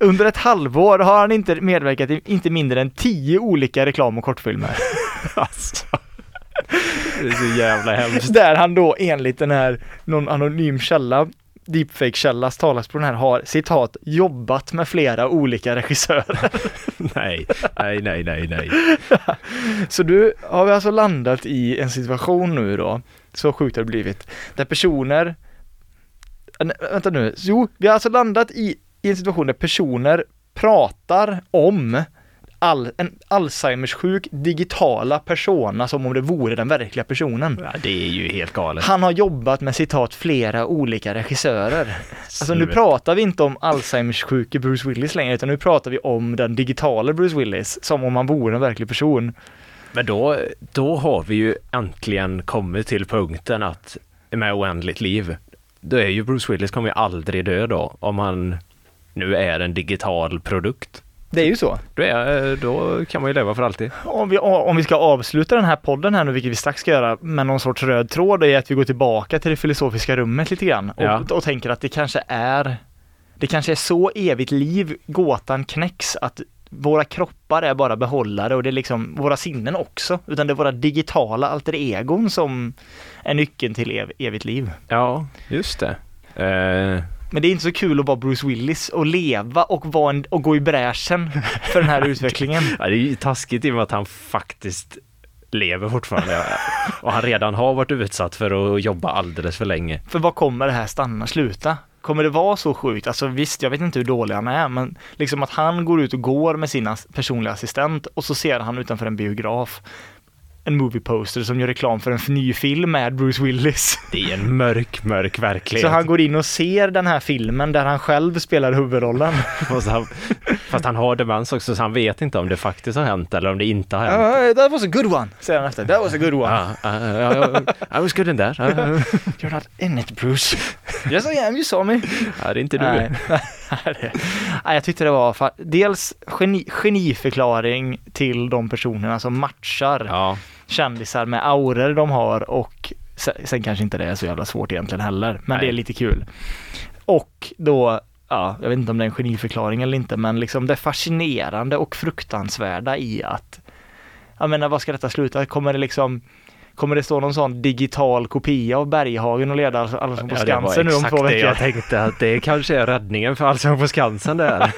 C: Under ett halvår har han inte medverkat i inte mindre än tio olika reklam och kortfilmer.
B: Alltså. Det är så jävla hemskt.
C: Där han då enligt den här, någon anonym källa, deepfake-källas talasbron här har citat jobbat med flera olika regissörer.
B: Nej, nej, nej, nej, nej.
C: Så nu har vi alltså landat i en situation nu då, så sjukt har det blivit, där personer äh, nej, vänta nu, jo, vi har alltså landat i, i en situation där personer pratar om all, en Alzheimers sjuk digitala persona som om det vore den verkliga personen.
B: Ja, det är ju helt galet.
C: Han har jobbat med citat flera olika regissörer. Alltså nu
B: Snurr.
C: pratar vi inte om Alzheimers sjuke Bruce Willis längre, utan nu pratar vi om den digitala Bruce Willis, som om han vore en verklig person.
B: Men då, då har vi ju äntligen kommit till punkten att med oändligt liv, då är ju Bruce Willis kommer ju aldrig dö då, om han nu är en digital produkt.
C: Det är ju så.
B: Då, är, då kan man ju leva för alltid.
C: Om vi, om vi ska avsluta den här podden här nu, vilket vi strax ska göra, med någon sorts röd tråd, det är att vi går tillbaka till det filosofiska rummet lite grann och,
B: Ja.
C: och tänker att det kanske är det kanske är så evigt liv gåtan knäcks att våra kroppar är bara behållare och det är liksom våra sinnen också, utan det är våra digitala alter egon som är nyckeln till ev- evigt liv.
B: Ja, just det. Eh,
C: Men det är inte så kul att vara Bruce Willis och leva och, vara en, och gå i bräschen för den här utvecklingen.
B: ja, det är ju taskigt i och med att han faktiskt lever fortfarande och han redan har varit utsatt för att jobba alldeles för länge.
C: För vad kommer det här stanna, sluta? Kommer det vara så sjukt? Alltså visst, jag vet inte hur dålig han är, men liksom att han går ut och går med sin ass- personliga assistent och så ser han utanför en biograf en movie poster som gör reklam för en f- ny film med Bruce Willis.
B: Det är en mörk, mörk verklighet.
C: Så han går in och ser den här filmen där han själv spelar huvudrollen.
B: Och så han, fast han har demens också så han vet inte om det faktiskt har hänt eller om det inte har hänt.
C: Uh, that was a good one, säger han efter. That was a good one.
B: Ja, ja, ja, ja, I was good in that. Ja, ja,
C: You're not in it Bruce. Yes I am, you saw me.
B: ja, det är inte du.
C: Nej. Nej, det- Nej, jag tyckte det var fa- dels geni, geniförklaring till de personerna som matchar
B: Ja,
C: kändisar med auror de har och se- sen kanske inte det är så jävla svårt egentligen heller, men det
B: Nej.
C: är lite kul. Och då, ja, jag vet inte om det är en geniförklaring eller inte, men liksom det fascinerande och fruktansvärda i att, jag menar vad ska detta sluta? Kommer det liksom Kommer det stå någon sån digital kopia av Berghagen och leda alla som på
B: ja, det var
C: Skansen nu om
B: exakt det
C: två veckor?
B: jag tänkte att det kanske är räddningen för Allsång på Skansen där.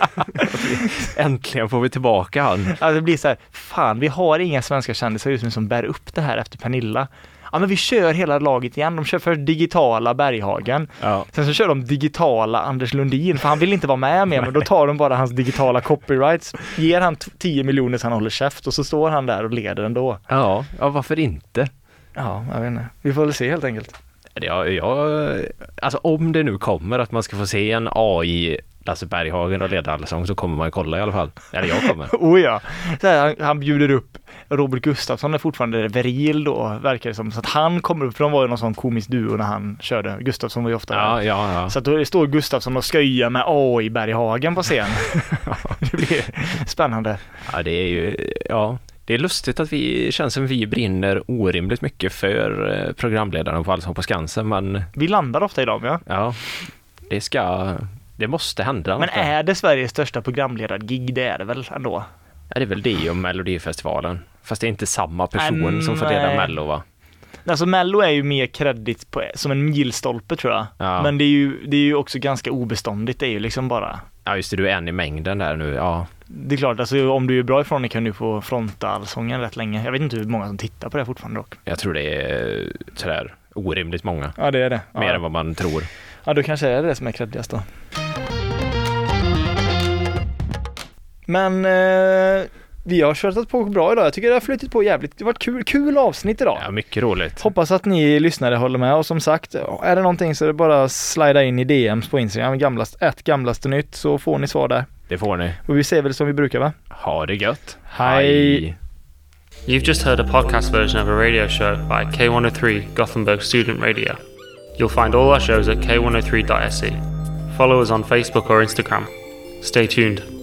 B: Äntligen får vi tillbaka han.
C: Alltså det blir så här, fan vi har inga svenska kändisar just nu som bär upp det här efter Pernilla. Ja men vi kör hela laget igen, de kör först digitala Berghagen,
B: Ja.
C: sen så kör de digitala Anders Lundin, för han vill inte vara med mer, men då tar de bara hans digitala copyrights, ger han t- 10 miljoner så han håller käft och så står han där och leder ändå.
B: Ja, ja, varför inte?
C: Ja, jag vet inte. Vi får väl se helt enkelt.
B: Jag, jag, alltså om det nu kommer att man ska få se en AI Lasse Berghagen och leda Allsång så kommer man ju kolla i alla fall. Eller jag kommer.
C: Oh ja. Så här, han, han bjuder upp Robert Gustafsson är fortfarande viril då, verkar det som. Så att han kommer upp, för de var ju någon sån komisk duo när han körde. Gustafsson var ju ofta där.
B: Ja, ja, ja.
C: Så att då står Gustafsson och skojar med AI Berghagen på scen. det blir spännande.
B: Ja, det är ju, ja. Det är lustigt att vi känns som vi brinner orimligt mycket för eh, programledaren på Allsång på Skansen, men
C: Vi landar ofta i dem ja.
B: ja, det ska, det måste hända.
C: Men
B: något där.
C: är det Sveriges största programledargig? Det är det väl ändå?
B: Ja, det är väl det och Melodifestivalen. Fast det är inte samma person
C: Nej,
B: som får leda
C: Äh, nej.
B: Mello va?
C: Alltså Mello är ju mer kredit på, som en milstolpe tror jag.
B: Ja.
C: Men det är, ju, det är ju också ganska obeståndigt. Det är ju liksom bara
B: Ja, just det, du är en i mängden där nu. Ja,
C: det är klart, alltså, om du är bra ifrån dig kan du få fronta allsången rätt länge. Jag vet inte hur många som tittar på det fortfarande dock.
B: jag tror det är eh, sådär orimligt många.
C: Ja, det är det.
B: Mer än vad man tror.
C: Ja, då kanske är det det som är kreddigast då. Men eh, vi har körtat på bra idag. Jag tycker det har flutit på jävligt. Det var ett kul, kul avsnitt idag.
B: Ja, mycket roligt.
C: Hoppas att ni lyssnare håller med och som sagt, är det någonting så är det bara att slida in i DMs på Instagram, gamlast, ett gamlaste nytt, så får ni svar där.
B: Det får ni.
C: Och vi säger väl som vi brukar va?
B: Ha det gött.
C: Hej.
A: You've just heard a podcast version of a radio show by K103 Gothenburg Student Radio. You'll find oh E. all our shows at k103.se. Follow us on Facebook or Instagram. Stay tuned.